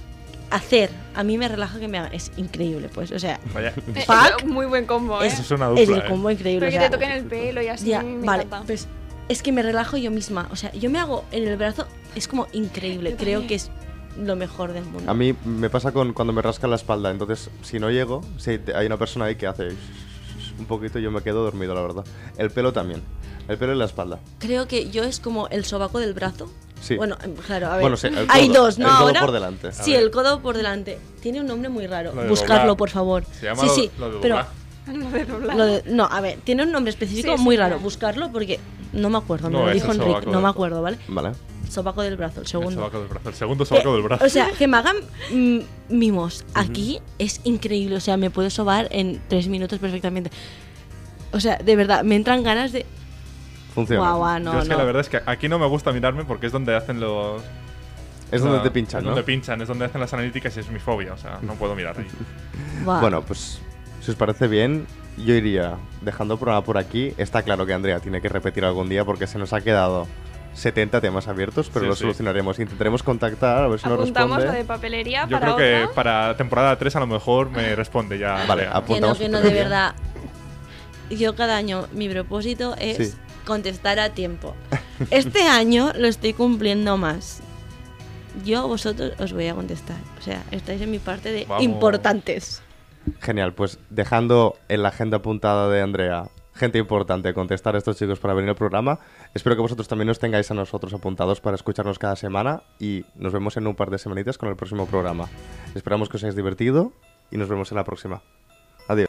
Speaker 3: hacer. A mí me relaja que me hagan. Es increíble, pues. O sea,
Speaker 2: Vaya,
Speaker 4: Eh,
Speaker 3: Fuck.
Speaker 4: eh, Muy buen combo, ¿eh?
Speaker 3: es,
Speaker 2: Eso es una
Speaker 3: es
Speaker 2: dupla,
Speaker 3: el
Speaker 2: eh.
Speaker 3: combo increíble.
Speaker 4: Pero
Speaker 3: o
Speaker 4: que
Speaker 3: sea,
Speaker 4: te toquen el pelo y así.
Speaker 3: ya,
Speaker 4: me
Speaker 3: vale,
Speaker 4: encanta.
Speaker 3: pues es que me relajo yo misma. O sea, yo me hago en el brazo, es como increíble.
Speaker 4: Yo
Speaker 3: Creo
Speaker 4: también.
Speaker 3: que es lo mejor del mundo.
Speaker 1: A mí me pasa con cuando me rasca la espalda, entonces si no llego, si te- hay una persona ahí que hace un poquito, yo me quedo dormido, la verdad. El pelo también. El pelo y la espalda.
Speaker 3: Creo que yo es como el sobaco del brazo.
Speaker 1: Sí.
Speaker 3: Bueno, em, claro, a ver.
Speaker 1: Bueno, sí, el
Speaker 3: hay
Speaker 1: codo,
Speaker 3: dos, ¿no?
Speaker 1: el codo
Speaker 3: Ahora.
Speaker 1: por delante.
Speaker 3: Sí,
Speaker 2: A ver.
Speaker 3: el codo por delante. Tiene un nombre muy raro.
Speaker 2: Lo de
Speaker 3: Buscarlo,
Speaker 2: doblar.
Speaker 3: por favor.
Speaker 2: se llama
Speaker 3: sí,
Speaker 2: lo-
Speaker 3: sí.
Speaker 2: lo de
Speaker 3: pero
Speaker 2: doblar.
Speaker 4: Lo de doblar.
Speaker 3: lo de- no, a ver, tiene un nombre específico
Speaker 4: Sí, sí,
Speaker 3: muy
Speaker 4: claro.
Speaker 3: raro. Buscarlo porque no me acuerdo. Me
Speaker 2: No,
Speaker 3: lo
Speaker 2: es
Speaker 3: dijo
Speaker 2: el
Speaker 3: Enrique.
Speaker 2: sobaco
Speaker 3: No
Speaker 2: del
Speaker 3: me
Speaker 2: brazo.
Speaker 3: acuerdo, ¿vale?
Speaker 1: Vale.
Speaker 3: sobaco del brazo, el segundo.
Speaker 2: El sobaco del brazo. El segundo sobaco
Speaker 3: Que-
Speaker 2: del brazo.
Speaker 3: Eh, O sea, que me hagan mm, mimos aquí es increíble. O sea, me puedo sobar en tres minutos perfectamente. O sea, de verdad, me entran ganas de.
Speaker 1: Funciona.
Speaker 3: Guau, guau, no,
Speaker 2: Yo es que
Speaker 3: no.
Speaker 2: la verdad es que aquí no me gusta mirarme porque es donde hacen los.
Speaker 1: Es
Speaker 2: o sea,
Speaker 1: donde te pinchan,
Speaker 2: es
Speaker 1: ¿no?
Speaker 2: donde pinchan, es donde hacen las analíticas y es mi fobia. O sea, no puedo mirar ahí.
Speaker 3: Guau.
Speaker 1: Bueno, pues si os parece bien, yo iría dejando el programa por aquí. Está claro que Andrea tiene que repetir algún día porque se nos ha quedado 70 temas abiertos, pero
Speaker 2: Sí,
Speaker 1: lo
Speaker 2: sí.
Speaker 1: solucionaremos. Intentaremos contactar a ver si nos
Speaker 4: Apuntamos
Speaker 1: responde.
Speaker 4: lo de papelería
Speaker 2: Yo
Speaker 4: Ah, para
Speaker 2: creo que
Speaker 4: otra.
Speaker 2: para temporada 3 a lo mejor me responde ya.
Speaker 1: Vale,
Speaker 2: Andrea.
Speaker 1: apu-
Speaker 3: Que no,
Speaker 1: apuntamos
Speaker 3: que
Speaker 1: tu
Speaker 3: no, de
Speaker 1: teoría.
Speaker 3: verdad. Yo cada año, mi propósito es
Speaker 1: Sí.
Speaker 3: contestar a tiempo. Este año lo estoy cumpliendo más. Yo a vosotros os voy a contestar. O sea, estáis en mi parte de
Speaker 2: Vamos.
Speaker 3: importantes.
Speaker 1: Genial, pues dejando en la agenda apuntada de Andrea gente importante contestar a estos chicos para venir al programa. Espero que vosotros también nos tengáis a nosotros apuntados para escucharnos cada semana y nos vemos en un par de semanitas con el próximo programa. Esperamos que os hayáis divertido y nos vemos en la próxima. Adiós.